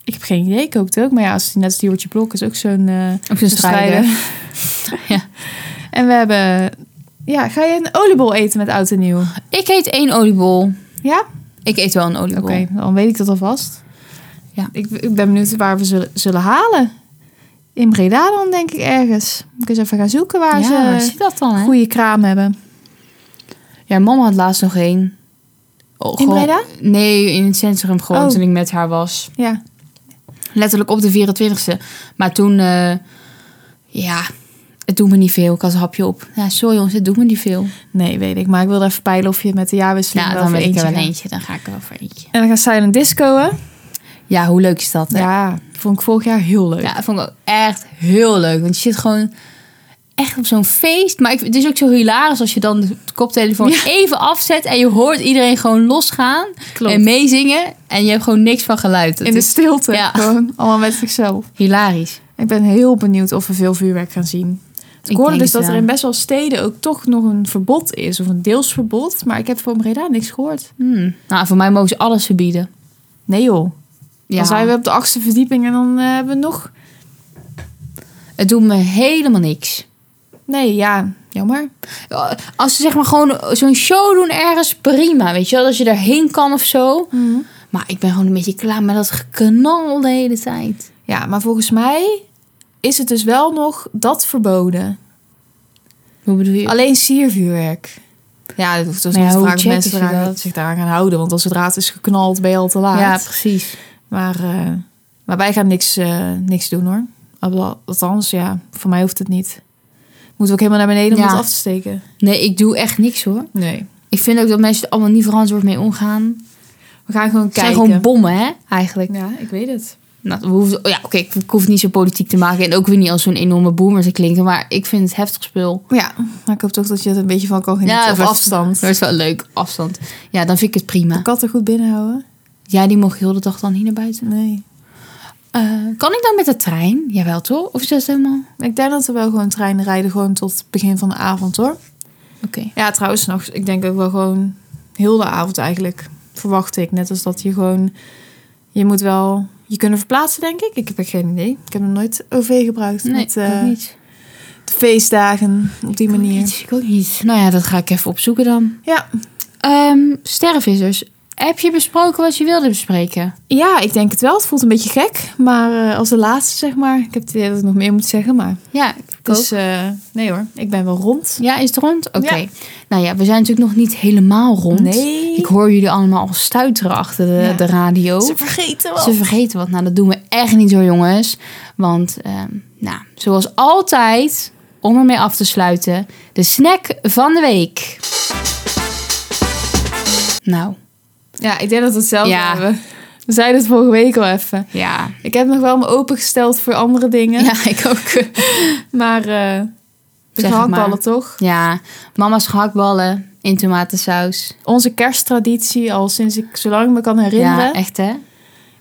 [SPEAKER 1] Ik heb geen idee, ik hoop het ook. Maar ja, als die, net als die Jortje Blok is ook zo'n eh,
[SPEAKER 2] Of een
[SPEAKER 1] strijder.
[SPEAKER 2] strijder. Ja.
[SPEAKER 1] En we hebben... Ja, ga je een oliebol eten met oud en nieuw?
[SPEAKER 2] Ik eet één oliebol.
[SPEAKER 1] Ja?
[SPEAKER 2] Ik eet wel een
[SPEAKER 1] Oké,
[SPEAKER 2] oliebol.
[SPEAKER 1] dan weet ik dat alvast.
[SPEAKER 2] Ja.
[SPEAKER 1] Ik, ik ben benieuwd waar we zullen, zullen halen. In Breda dan, denk ik, ergens. Moet ik eens even gaan zoeken waar
[SPEAKER 2] ja, waar
[SPEAKER 1] ze
[SPEAKER 2] zit dat dan?
[SPEAKER 1] een
[SPEAKER 2] Hè?
[SPEAKER 1] goede kraam hebben.
[SPEAKER 2] Ja, mama had laatst nog één. Oh,
[SPEAKER 1] In
[SPEAKER 2] gewoon-
[SPEAKER 1] Breda?
[SPEAKER 2] Nee, in het centrum gewoon
[SPEAKER 1] Oh.
[SPEAKER 2] toen ik met haar was.
[SPEAKER 1] Ja.
[SPEAKER 2] Letterlijk op de 24e. Maar toen, eh, ja, het doet me niet veel. Ik had een hapje op. Ja, sorry jongens, het doet me niet veel.
[SPEAKER 1] Nee, weet ik. Maar ik wilde even peilen of je met de jaarwisseling
[SPEAKER 2] Ja,
[SPEAKER 1] wel
[SPEAKER 2] dan
[SPEAKER 1] voor
[SPEAKER 2] wil ik er wel
[SPEAKER 1] gaat.
[SPEAKER 2] eentje. Dan ga ik er wel voor eentje.
[SPEAKER 1] En dan gaan Silent Discoen.
[SPEAKER 2] Ja, hoe leuk is dat? hè?
[SPEAKER 1] Ja, vond ik vorig jaar heel leuk.
[SPEAKER 2] Ja, dat vond ik ook echt heel leuk. Want je zit gewoon echt op zo'n feest. Maar ik, het is ook zo hilarisch als je dan de koptelefoon even afzet en je hoort iedereen gewoon losgaan
[SPEAKER 1] Klopt.
[SPEAKER 2] en meezingen. En je hebt gewoon niks van geluid. Dat
[SPEAKER 1] In de
[SPEAKER 2] is
[SPEAKER 1] stilte.
[SPEAKER 2] Ja.
[SPEAKER 1] Gewoon allemaal met zichzelf.
[SPEAKER 2] hilarisch.
[SPEAKER 1] Ik ben heel benieuwd of we veel vuurwerk gaan zien. Ik,
[SPEAKER 2] Ik
[SPEAKER 1] hoorde
[SPEAKER 2] denk
[SPEAKER 1] dus dat
[SPEAKER 2] het
[SPEAKER 1] er
[SPEAKER 2] wel.
[SPEAKER 1] in best wel steden ook toch nog een verbod is. Of een deels verbod. Maar ik heb van Breda niks gehoord.
[SPEAKER 2] Hmm. Nou, voor mij mogen ze alles verbieden.
[SPEAKER 1] Nee joh.
[SPEAKER 2] Ja.
[SPEAKER 1] Dan zijn we op de achtste verdieping en dan eh, hebben we nog...
[SPEAKER 2] Het doet me helemaal niks.
[SPEAKER 1] Nee, ja. Jammer.
[SPEAKER 2] Als ze zeg maar gewoon zo'n show doen ergens, prima. Weet je wel, als je daarheen kan of zo. Maar ik ben gewoon een beetje klaar met dat geknal de hele tijd.
[SPEAKER 1] Ja, maar volgens mij is het dus wel nog dat verboden.
[SPEAKER 2] Hoe bedoel je?
[SPEAKER 1] Alleen siervuurwerk. Ja, dat hoeft dus
[SPEAKER 2] Maar ja,
[SPEAKER 1] niet te
[SPEAKER 2] hoe
[SPEAKER 1] vragen of
[SPEAKER 2] checken
[SPEAKER 1] mensen
[SPEAKER 2] ze
[SPEAKER 1] eraan-
[SPEAKER 2] dat?
[SPEAKER 1] zich daaraan gaan houden. Want als zodra het is geknald, ben je al te laat.
[SPEAKER 2] ja, precies.
[SPEAKER 1] Maar, eh, maar wij gaan niks, eh, niks doen hoor. Al- Althans, ja, voor mij hoeft het niet. Moeten we ook helemaal naar beneden om
[SPEAKER 2] Ja.
[SPEAKER 1] het af te steken?
[SPEAKER 2] Nee, ik doe echt niks hoor.
[SPEAKER 1] Nee.
[SPEAKER 2] Ik vind ook dat mensen er allemaal niet verantwoord mee omgaan. Het
[SPEAKER 1] We gaan gewoon
[SPEAKER 2] zijn
[SPEAKER 1] kijken.
[SPEAKER 2] gewoon bommen, hè, eigenlijk.
[SPEAKER 1] ja, ik weet het.
[SPEAKER 2] Nou, we hoeven, ja, oké, ik, ik hoef het niet zo politiek te maken. En ook weer niet als zo'n enorme boomer te klinken. Maar ik vind het heftig spul.
[SPEAKER 1] Ja, maar ik hoop toch dat je er een beetje van kan genieten.
[SPEAKER 2] Ja,
[SPEAKER 1] op
[SPEAKER 2] dat-
[SPEAKER 1] afstand.
[SPEAKER 2] Dat is wel leuk, afstand. Ja, dan vind ik het prima.
[SPEAKER 1] De katten goed binnenhouden?
[SPEAKER 2] Ja, die mocht heel de dag dan hier naar buiten.
[SPEAKER 1] Nee.
[SPEAKER 2] Eh, kan ik dan met de trein? Jawel, toch? Of is dat helemaal...
[SPEAKER 1] Ik denk dat we wel gewoon treinen rijden, gewoon tot het begin van de avond hoor.
[SPEAKER 2] Oké.
[SPEAKER 1] Ja, trouwens nog, ik denk ook wel gewoon heel de avond eigenlijk, verwacht ik. Net als dat je gewoon, je moet wel je kunnen verplaatsen, denk ik. Ik heb echt geen idee. Ik heb nog nooit OV gebruikt
[SPEAKER 2] Nee,
[SPEAKER 1] met
[SPEAKER 2] ik
[SPEAKER 1] eh,
[SPEAKER 2] ook niet.
[SPEAKER 1] de feestdagen op die
[SPEAKER 2] Ik ook
[SPEAKER 1] manier.
[SPEAKER 2] niet. Ik ook niet. Nou ja, dat ga ik even opzoeken dan.
[SPEAKER 1] Ja.
[SPEAKER 2] Ehm sterrenvissers, heb je besproken wat je wilde bespreken?
[SPEAKER 1] ja, ik denk het wel. Het voelt een beetje gek, maar eh, als de laatste zeg maar. Ik heb het idee dat ik nog meer moet zeggen, maar
[SPEAKER 2] Ja, ik ook.
[SPEAKER 1] dus eh, nee hoor, ik ben wel rond.
[SPEAKER 2] Ja, is het rond? Oké.
[SPEAKER 1] Ja.
[SPEAKER 2] Nou ja, we zijn natuurlijk nog niet helemaal rond.
[SPEAKER 1] Nee.
[SPEAKER 2] Ik hoor jullie allemaal al stuiteren achter de,
[SPEAKER 1] Ja.
[SPEAKER 2] de radio.
[SPEAKER 1] Ze vergeten wel.
[SPEAKER 2] Ze vergeten wat. Nou, dat doen we echt niet hoor, jongens. Want, ehm, nou, zoals altijd, om ermee af te sluiten, de snack van de week. Nou,
[SPEAKER 1] Ja, ik denk dat we hetzelfde
[SPEAKER 2] Ja.
[SPEAKER 1] hebben. We zeiden het vorige week al even.
[SPEAKER 2] ja.
[SPEAKER 1] Ik heb nog wel me opengesteld voor andere dingen.
[SPEAKER 2] Ja, ik ook.
[SPEAKER 1] Maar eh de
[SPEAKER 2] Zeg het
[SPEAKER 1] gehaktballen
[SPEAKER 2] maar.
[SPEAKER 1] toch?
[SPEAKER 2] Ja, mama's gehaktballen in tomatensaus.
[SPEAKER 1] Onze kersttraditie al sinds ik zolang ik me kan herinneren. Ja,
[SPEAKER 2] Ja, echt hè?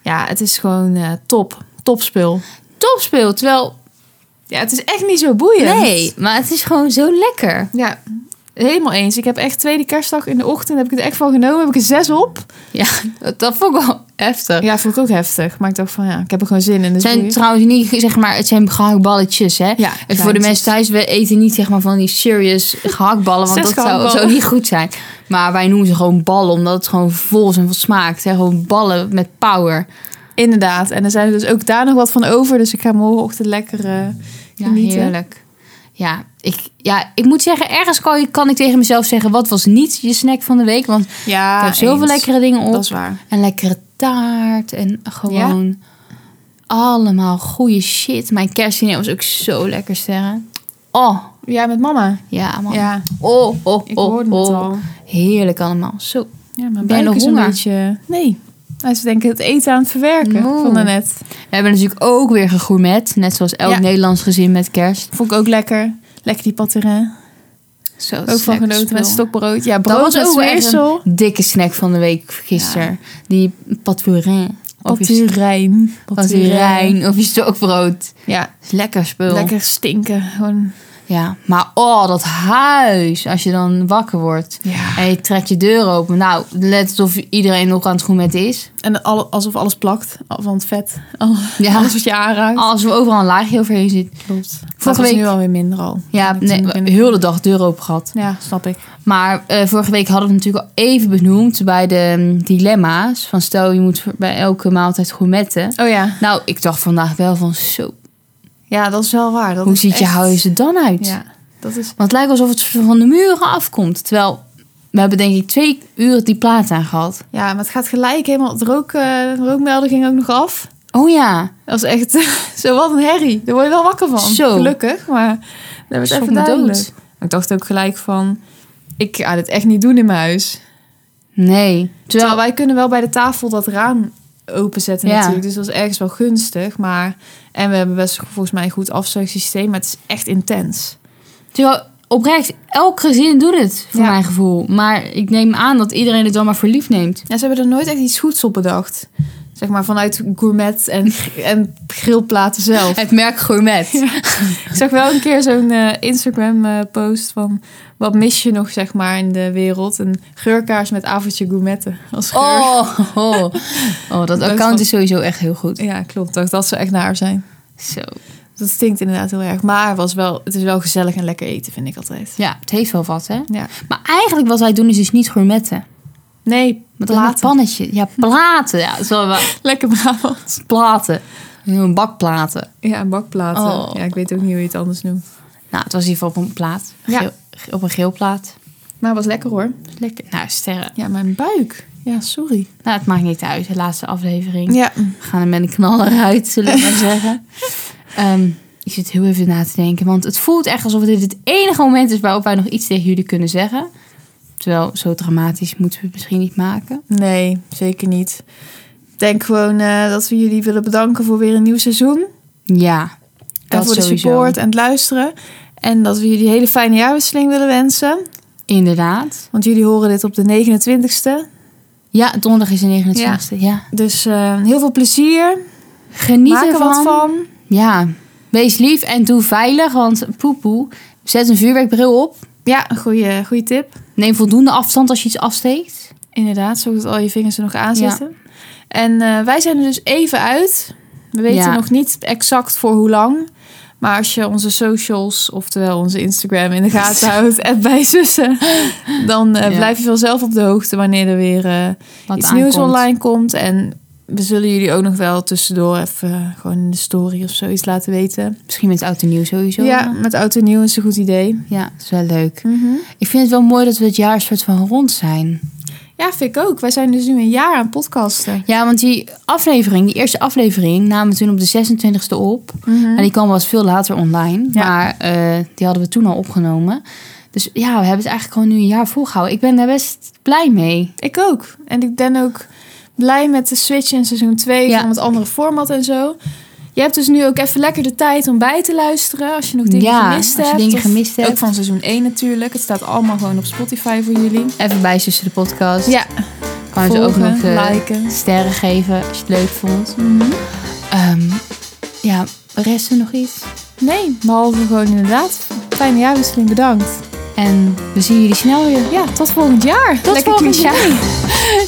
[SPEAKER 1] het is gewoon eh, top. Topspul.
[SPEAKER 2] Top speelt, terwijl...
[SPEAKER 1] Ja, het is echt niet zo boeiend.
[SPEAKER 2] Nee, maar het is gewoon zo lekker.
[SPEAKER 1] Ja, helemaal eens. Ik heb echt tweede kerstdag in de ochtend, heb ik het echt van genomen. Heb ik er zes op.
[SPEAKER 2] Ja, dat vond ik wel heftig.
[SPEAKER 1] Ja, vond ik ook heftig. Maar ik dacht van ja, ik heb er gewoon zin in. Dus
[SPEAKER 2] Het zijn
[SPEAKER 1] boeien.
[SPEAKER 2] trouwens niet, zeg maar, het zijn gehaktballetjes, hè?
[SPEAKER 1] ja,
[SPEAKER 2] En voor de mensen thuis, we eten niet zeg maar van die serious gehaktballen, want
[SPEAKER 1] Zes
[SPEAKER 2] dat zou,
[SPEAKER 1] gehaktballen.
[SPEAKER 2] zou niet goed zijn. Maar wij noemen ze gewoon ballen, omdat het gewoon vol is en vol smaakt. Hè? Gewoon ballen met power.
[SPEAKER 1] Inderdaad. En er zijn er dus ook daar nog wat van over. Dus ik ga morgenochtend lekker eh,
[SPEAKER 2] Ja,
[SPEAKER 1] genieten.
[SPEAKER 2] heerlijk. Ja ik, ja, ik moet zeggen, ergens kan, kan ik tegen mezelf zeggen, wat was niet je snack van de week? Want
[SPEAKER 1] Ja,
[SPEAKER 2] ik heb zoveel
[SPEAKER 1] eens.
[SPEAKER 2] lekkere dingen op.
[SPEAKER 1] Dat is waar.
[SPEAKER 2] Een lekkere taart en gewoon allemaal goede shit. Mijn kerstdiner was ook zo lekker, sterren. Oh,
[SPEAKER 1] Ja, met mama.
[SPEAKER 2] ja man.
[SPEAKER 1] Ja,
[SPEAKER 2] Oh, oh,
[SPEAKER 1] ik
[SPEAKER 2] oh,
[SPEAKER 1] hoorde het
[SPEAKER 2] oh.
[SPEAKER 1] al.
[SPEAKER 2] Heerlijk allemaal. Zo.
[SPEAKER 1] Ja, maar
[SPEAKER 2] Ben
[SPEAKER 1] buik
[SPEAKER 2] je nog
[SPEAKER 1] is een
[SPEAKER 2] honger?
[SPEAKER 1] beetje... Nee. Hij is denk ik het eten aan het verwerken
[SPEAKER 2] Oeh.
[SPEAKER 1] van daarnet.
[SPEAKER 2] We hebben natuurlijk ook weer gegourmet. Net zoals elk
[SPEAKER 1] Ja.
[SPEAKER 2] Nederlands gezin met kerst.
[SPEAKER 1] Vond ik ook lekker. Lekker die paterin.
[SPEAKER 2] Zo, dat
[SPEAKER 1] Ook
[SPEAKER 2] is
[SPEAKER 1] van
[SPEAKER 2] lekker
[SPEAKER 1] genoten met
[SPEAKER 2] spul.
[SPEAKER 1] stokbrood. Ja,
[SPEAKER 2] Dat
[SPEAKER 1] brood
[SPEAKER 2] was
[SPEAKER 1] met
[SPEAKER 2] ook weer echt
[SPEAKER 1] smeersel.
[SPEAKER 2] een dikke snack van de week gisteren. Die patourin. Of je
[SPEAKER 1] Paturijn.
[SPEAKER 2] paturijn of je stokbrood.
[SPEAKER 1] Ja,
[SPEAKER 2] Dat is lekker spul.
[SPEAKER 1] lekker stinken. Gewoon...
[SPEAKER 2] Ja, maar oh, dat huis. Als je dan wakker wordt
[SPEAKER 1] Ja.
[SPEAKER 2] en je trekt je deur open. Nou, let het of iedereen nog aan het groen met is.
[SPEAKER 1] En al, alsof alles plakt al- van het vet. Al-
[SPEAKER 2] Ja,
[SPEAKER 1] Alles wat je aanraakt.
[SPEAKER 2] als we overal een laagje overheen zit.
[SPEAKER 1] Klopt. Dat
[SPEAKER 2] Vorige
[SPEAKER 1] is
[SPEAKER 2] week-
[SPEAKER 1] nu alweer minder al.
[SPEAKER 2] Ja,
[SPEAKER 1] Ik denk
[SPEAKER 2] nee,
[SPEAKER 1] binnen-
[SPEAKER 2] heel de dag deur open gehad.
[SPEAKER 1] Ja, snap ik.
[SPEAKER 2] Maar eh, vorige week hadden we het natuurlijk al even benoemd bij de mm, dilemma's. Van stel, je moet voor- bij elke maaltijd gourmetten.
[SPEAKER 1] Oh ja.
[SPEAKER 2] Nou, ik dacht vandaag wel van zo,
[SPEAKER 1] Ja, dat is wel waar. Dat
[SPEAKER 2] hoe
[SPEAKER 1] is
[SPEAKER 2] ziet je
[SPEAKER 1] echt-
[SPEAKER 2] huis er dan uit?
[SPEAKER 1] Ja, dat is...
[SPEAKER 2] Want het lijkt alsof het van de muren afkomt. Terwijl, we hebben denk ik twee uur die plaat aan gehad.
[SPEAKER 1] Ja, maar het gaat gelijk helemaal... De rook, eh, de rookmelder ging ook nog af.
[SPEAKER 2] Oh ja,
[SPEAKER 1] Dat is echt zo wat een herrie. Daar word je wel wakker van.
[SPEAKER 2] Zo.
[SPEAKER 1] Gelukkig, maar dat werd
[SPEAKER 2] Schrok
[SPEAKER 1] even
[SPEAKER 2] me
[SPEAKER 1] duidelijk.
[SPEAKER 2] dood.
[SPEAKER 1] Ik dacht ook gelijk van, ik ga dit echt niet doen in mijn huis. Terwijl,
[SPEAKER 2] nee. Terwijl,
[SPEAKER 1] wij kunnen wel bij de tafel dat raam openzetten
[SPEAKER 2] Ja.
[SPEAKER 1] natuurlijk. Dus dat is ergens wel gunstig. Maar, en we hebben best volgens mij een goed afzuigsysteem. Maar het is echt intens.
[SPEAKER 2] Terwijl oprecht, elk gezin doet het, voor
[SPEAKER 1] Ja.
[SPEAKER 2] mijn gevoel. Maar ik neem aan dat iedereen het dan maar voor lief neemt.
[SPEAKER 1] Ja, ze hebben er nooit echt iets goeds op bedacht. Zeg maar vanuit gourmet en, en grillplaten zelf.
[SPEAKER 2] Het merk gourmet.
[SPEAKER 1] Ik zag wel een keer zo'n eh, Instagram-post van... wat mis je nog, zeg maar, in de wereld? Een geurkaars met avondje gourmetten als geur.
[SPEAKER 2] Oh, oh. oh, dat account is sowieso echt heel goed.
[SPEAKER 1] Ja, klopt. Dat, dat ze echt naar zijn.
[SPEAKER 2] Zo.
[SPEAKER 1] Dat stinkt inderdaad heel erg. Maar was wel, het is wel gezellig en lekker eten, vind ik altijd.
[SPEAKER 2] Ja, het heeft wel wat, hè?
[SPEAKER 1] Ja.
[SPEAKER 2] Maar eigenlijk wat wij doen is dus niet gourmetten.
[SPEAKER 1] Nee,
[SPEAKER 2] Maar dat is een
[SPEAKER 1] platen.
[SPEAKER 2] pannetje. Ja, platen. Ja, zo wel.
[SPEAKER 1] Lekker Brabant.
[SPEAKER 2] Platen. Een bakplaten.
[SPEAKER 1] Ja, en bakplaten.
[SPEAKER 2] Oh.
[SPEAKER 1] Ja, ik weet ook niet hoe je het anders noemt.
[SPEAKER 2] Nou, het was in ieder geval op een plaat.
[SPEAKER 1] Ja.
[SPEAKER 2] Geel- op een geel plaat.
[SPEAKER 1] Maar het was lekker hoor.
[SPEAKER 2] Lekker. Nou, sterren.
[SPEAKER 1] Ja, mijn buik. Ja, sorry.
[SPEAKER 2] Nou, het maakt niet uit. De laatste aflevering.
[SPEAKER 1] Ja.
[SPEAKER 2] We gaan er met een knaller uit, zullen we maar zeggen. Ehm, ik zit heel even na te denken. Want het voelt echt alsof dit het enige moment is waarop wij nog iets tegen jullie kunnen zeggen. Terwijl, zo dramatisch moeten we het misschien niet maken.
[SPEAKER 1] Nee, zeker niet. Ik denk gewoon eh, dat we jullie willen bedanken voor weer een nieuw seizoen.
[SPEAKER 2] Ja.
[SPEAKER 1] en
[SPEAKER 2] dat
[SPEAKER 1] voor de
[SPEAKER 2] sowieso.
[SPEAKER 1] support en het luisteren. En dat we jullie een hele fijne jaarwisseling willen wensen.
[SPEAKER 2] Inderdaad.
[SPEAKER 1] Want jullie horen dit op de 29ste.
[SPEAKER 2] Ja, donderdag is de 29 e Ja.
[SPEAKER 1] Dus eh, heel veel plezier.
[SPEAKER 2] Geniet
[SPEAKER 1] Maak er
[SPEAKER 2] ervan.
[SPEAKER 1] wat van.
[SPEAKER 2] Ja. Wees lief en doe veilig, want poepoe. Zet een vuurwerkbril op.
[SPEAKER 1] Ja, een goede, goede tip.
[SPEAKER 2] Neem voldoende afstand als je iets afsteekt.
[SPEAKER 1] Inderdaad, zodat al je vingers er nog aan zitten. En eh, wij zijn er dus even uit. We weten
[SPEAKER 2] Ja.
[SPEAKER 1] nog niet exact voor hoe lang. Maar als je onze socials, oftewel onze Instagram, in de gaten houdt en bij zussen, dan eh,
[SPEAKER 2] Ja.
[SPEAKER 1] blijf je vanzelf op de hoogte wanneer er weer eh,
[SPEAKER 2] Wat
[SPEAKER 1] iets
[SPEAKER 2] aankomt.
[SPEAKER 1] nieuws online komt. En we zullen jullie ook nog wel tussendoor even eh, gewoon in de story of zoiets laten weten.
[SPEAKER 2] Misschien met oud en nieuw sowieso.
[SPEAKER 1] Ja, met oud en nieuw is een goed idee.
[SPEAKER 2] Ja, dat is wel leuk. Ik vind het wel mooi dat we het jaar soort van rond zijn.
[SPEAKER 1] Ja, vind ik ook. Wij zijn dus nu een jaar aan podcasten.
[SPEAKER 2] Ja, want die aflevering, die eerste aflevering, namen we toen op de 26e op. En die kwam wel eens veel later online.
[SPEAKER 1] Ja.
[SPEAKER 2] Maar eh, die hadden we toen al opgenomen. Dus ja, we hebben het eigenlijk gewoon nu een jaar volgehouden. Ik ben daar best blij mee.
[SPEAKER 1] Ik ook. En ik ben ook blij met de switch in seizoen 2
[SPEAKER 2] Ja.
[SPEAKER 1] van het andere format en zo. Je hebt dus nu ook even lekker de tijd om bij te luisteren als je nog dingen
[SPEAKER 2] Ja,
[SPEAKER 1] gemist
[SPEAKER 2] als je
[SPEAKER 1] hebt.
[SPEAKER 2] dingen
[SPEAKER 1] of
[SPEAKER 2] gemist hebt.
[SPEAKER 1] Ook van seizoen 1 natuurlijk. Het staat allemaal gewoon op Spotify voor jullie.
[SPEAKER 2] Even bij tussen de podcast.
[SPEAKER 1] Ja,
[SPEAKER 2] kan je ze ook
[SPEAKER 1] volgen,
[SPEAKER 2] nog eh,
[SPEAKER 1] liken. Mhm.
[SPEAKER 2] sterren geven als je het leuk vond. Ehm, ja, rest er nog iets?
[SPEAKER 1] Nee, behalve gewoon inderdaad. Fijne jaarwisseling, bedankt.
[SPEAKER 2] En we zien jullie snel weer.
[SPEAKER 1] Ja, tot volgend jaar.
[SPEAKER 2] Tot
[SPEAKER 1] Lekker
[SPEAKER 2] volgend
[SPEAKER 1] cliché.
[SPEAKER 2] jaar.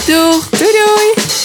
[SPEAKER 2] Doeg!
[SPEAKER 1] Doei doei.